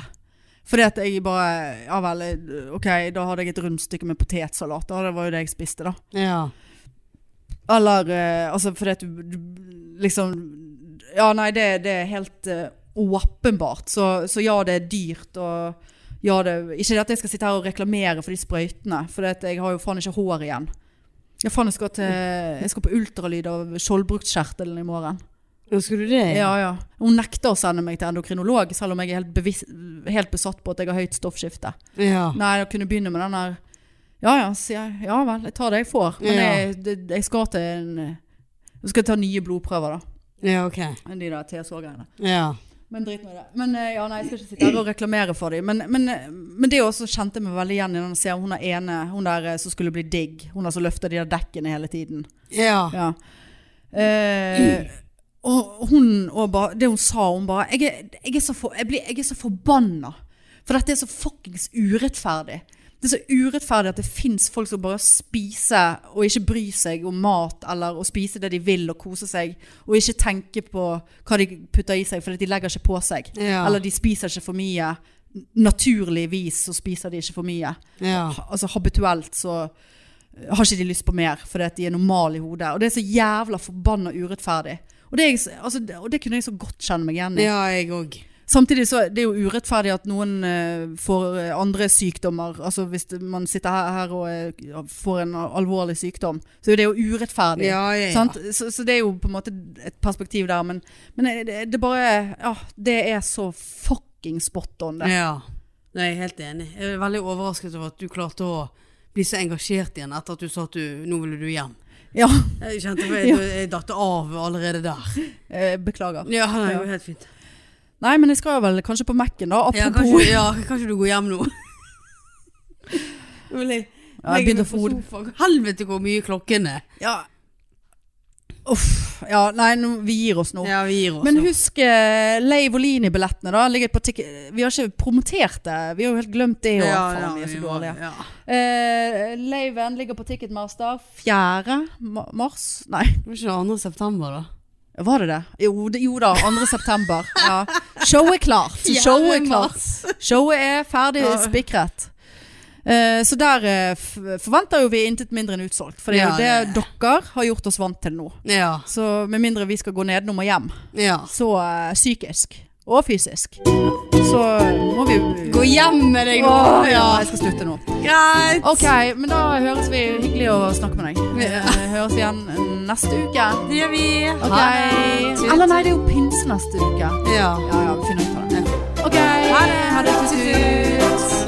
Speaker 1: Fordi at jeg bare Ja vel, eh, OK, da hadde jeg et rundstykke med potetsalat. Da, det var jo det jeg spiste, da.
Speaker 2: Ja.
Speaker 1: Eller eh, altså fordi at du, du liksom Ja, nei, det, det er helt eh, åpenbart. Så, så ja, det er dyrt og ja, det, ikke det at jeg skal sitte her og reklamere for de sprøytene, for det at jeg har jo faen ikke hår igjen. Ja, faen, jeg skal, til, jeg skal på ultralyd av skjoldbruskkjertelen i morgen.
Speaker 2: Nå skulle du det?
Speaker 1: Ja, ja. Hun nekter å sende meg til endokrinolog, selv om jeg er helt, bevis, helt besatt på at jeg har høyt stoffskifte.
Speaker 2: Ja.
Speaker 1: Ah. Nei, jeg kunne begynne med den der Ja ja, sier jeg. Ja vel, jeg tar det jeg får. Men
Speaker 2: Ja.
Speaker 1: jeg, det- jeg skal til en Jeg skal ta nye blodprøver, da.
Speaker 2: Ja, ok.
Speaker 1: Enn de der TSH-greiene.
Speaker 2: Ja.
Speaker 1: Men drit nå i det. Men eh, ja, nei, jeg skal ikke sitte her og reklamere for dem. Men, men, eh, men det også kjente jeg meg veldig igjen i den serien. Hun er ene, hun der eh, som skulle bli digg. Hun der som løfter de der dekkene hele tiden.
Speaker 2: Ja.
Speaker 1: Ja. Eh, og hun og ba, det hun sa, hun bare Jeg er, jeg er, så, for, jeg blir, jeg er så forbanna. For dette er så fuckings urettferdig. Det er så urettferdig at det fins folk som bare spiser og ikke bryr seg om mat, eller å spise det de vil og kose seg, og ikke tenke på hva de putter i seg, fordi de legger ikke på seg.
Speaker 2: Ja.
Speaker 1: Eller de spiser ikke for mye. Naturligvis så spiser de ikke for mye
Speaker 2: Ja.
Speaker 1: altså habituelt så har ikke de lyst på mer, fordi at de er normale i hodet. Og det er så jævla forbanna urettferdig. Og det, er jeg, s- altså, det- og det kunne jeg så godt kjenne meg igjen i.
Speaker 2: Ja, jeg òg.
Speaker 1: Samtidig så er det jo urettferdig at noen eh, får eh, andre sykdommer. Altså hvis det- man sitter her, her og eh, ja, får en alvorlig sykdom, så er det jo urettferdig.
Speaker 2: Ja, ja, ja.
Speaker 1: Sant? Så, så det er jo på en måte et perspektiv der, men, men det, det- det bare Ja, det er så fucking spot on, det.
Speaker 2: Ja. Nei, jeg er helt enig. Jeg er veldig overrasket over at du klarte å bli så engasjert igjen etter at du sa at du, nå ville du hjem.
Speaker 1: Ja. *laughs*
Speaker 2: Jeg kjente jeg, jeg datt av allerede der.
Speaker 1: eh, Beklager.
Speaker 2: Ja, nei, det var helt fint.
Speaker 1: Nei, men jeg skal vel kanskje på Mac-en, da.
Speaker 2: Ja,
Speaker 1: Apropos
Speaker 2: kanskje, ja, kanskje du går hjem nå. *laughs* Nå vil jeg
Speaker 1: Ja, jeg
Speaker 2: legge
Speaker 1: begynte
Speaker 2: meg
Speaker 1: å
Speaker 2: på
Speaker 1: få hode.
Speaker 2: sofaen. Helvete hvor mye klokken er.
Speaker 1: Ja. Uff. Ja, nei, nå, vi gir oss nå.
Speaker 2: Ja, vi gir oss.
Speaker 1: Men
Speaker 2: nå.
Speaker 1: husk uh, Leivolini-billettene, da. Ligger på tikk- vi har ikke promotert det. Vi har jo helt glemt det. Ja, faen, vi er så
Speaker 2: vi må-
Speaker 1: dårlige.
Speaker 2: Ja.
Speaker 1: Eh, Leiven ligger på Ticketmaster 4. ma- mars. Nei,
Speaker 2: Det var ikke 2. september, da.
Speaker 1: var det det? Jo, det, jo da. 2. september. Ja. Showet er klart. Showet er klart. Showet er ferdig
Speaker 2: Ja.
Speaker 1: spikret. Eh, så der eh, f forventer jo vi intet mindre enn utsolgt. For det er jo
Speaker 2: Ja, ja, ja.
Speaker 1: det dere har gjort oss vant til nå.
Speaker 2: Ja.
Speaker 1: Så med mindre vi skal gå nedenom og hjem,
Speaker 2: ja.
Speaker 1: så eh, psykisk og fysisk, så må vi
Speaker 2: Gå hjem med deg nå.
Speaker 1: Åh, ja,
Speaker 2: ja.
Speaker 1: jeg skal slutte nå.
Speaker 2: Greit.
Speaker 1: Ok, men da høres vi. Hyggelig å snakke med deg.
Speaker 2: Ja.
Speaker 1: Eh, Høres igjen neste uke.
Speaker 2: Det gjør vi.
Speaker 1: Ok.
Speaker 2: Ha det. Tut,
Speaker 1: Eller nei, det er jo pinse neste uke.
Speaker 2: tut. Ja.
Speaker 1: Ja ja, vi finner ut av det. Ok. Ha
Speaker 2: det.
Speaker 1: det. Tutut.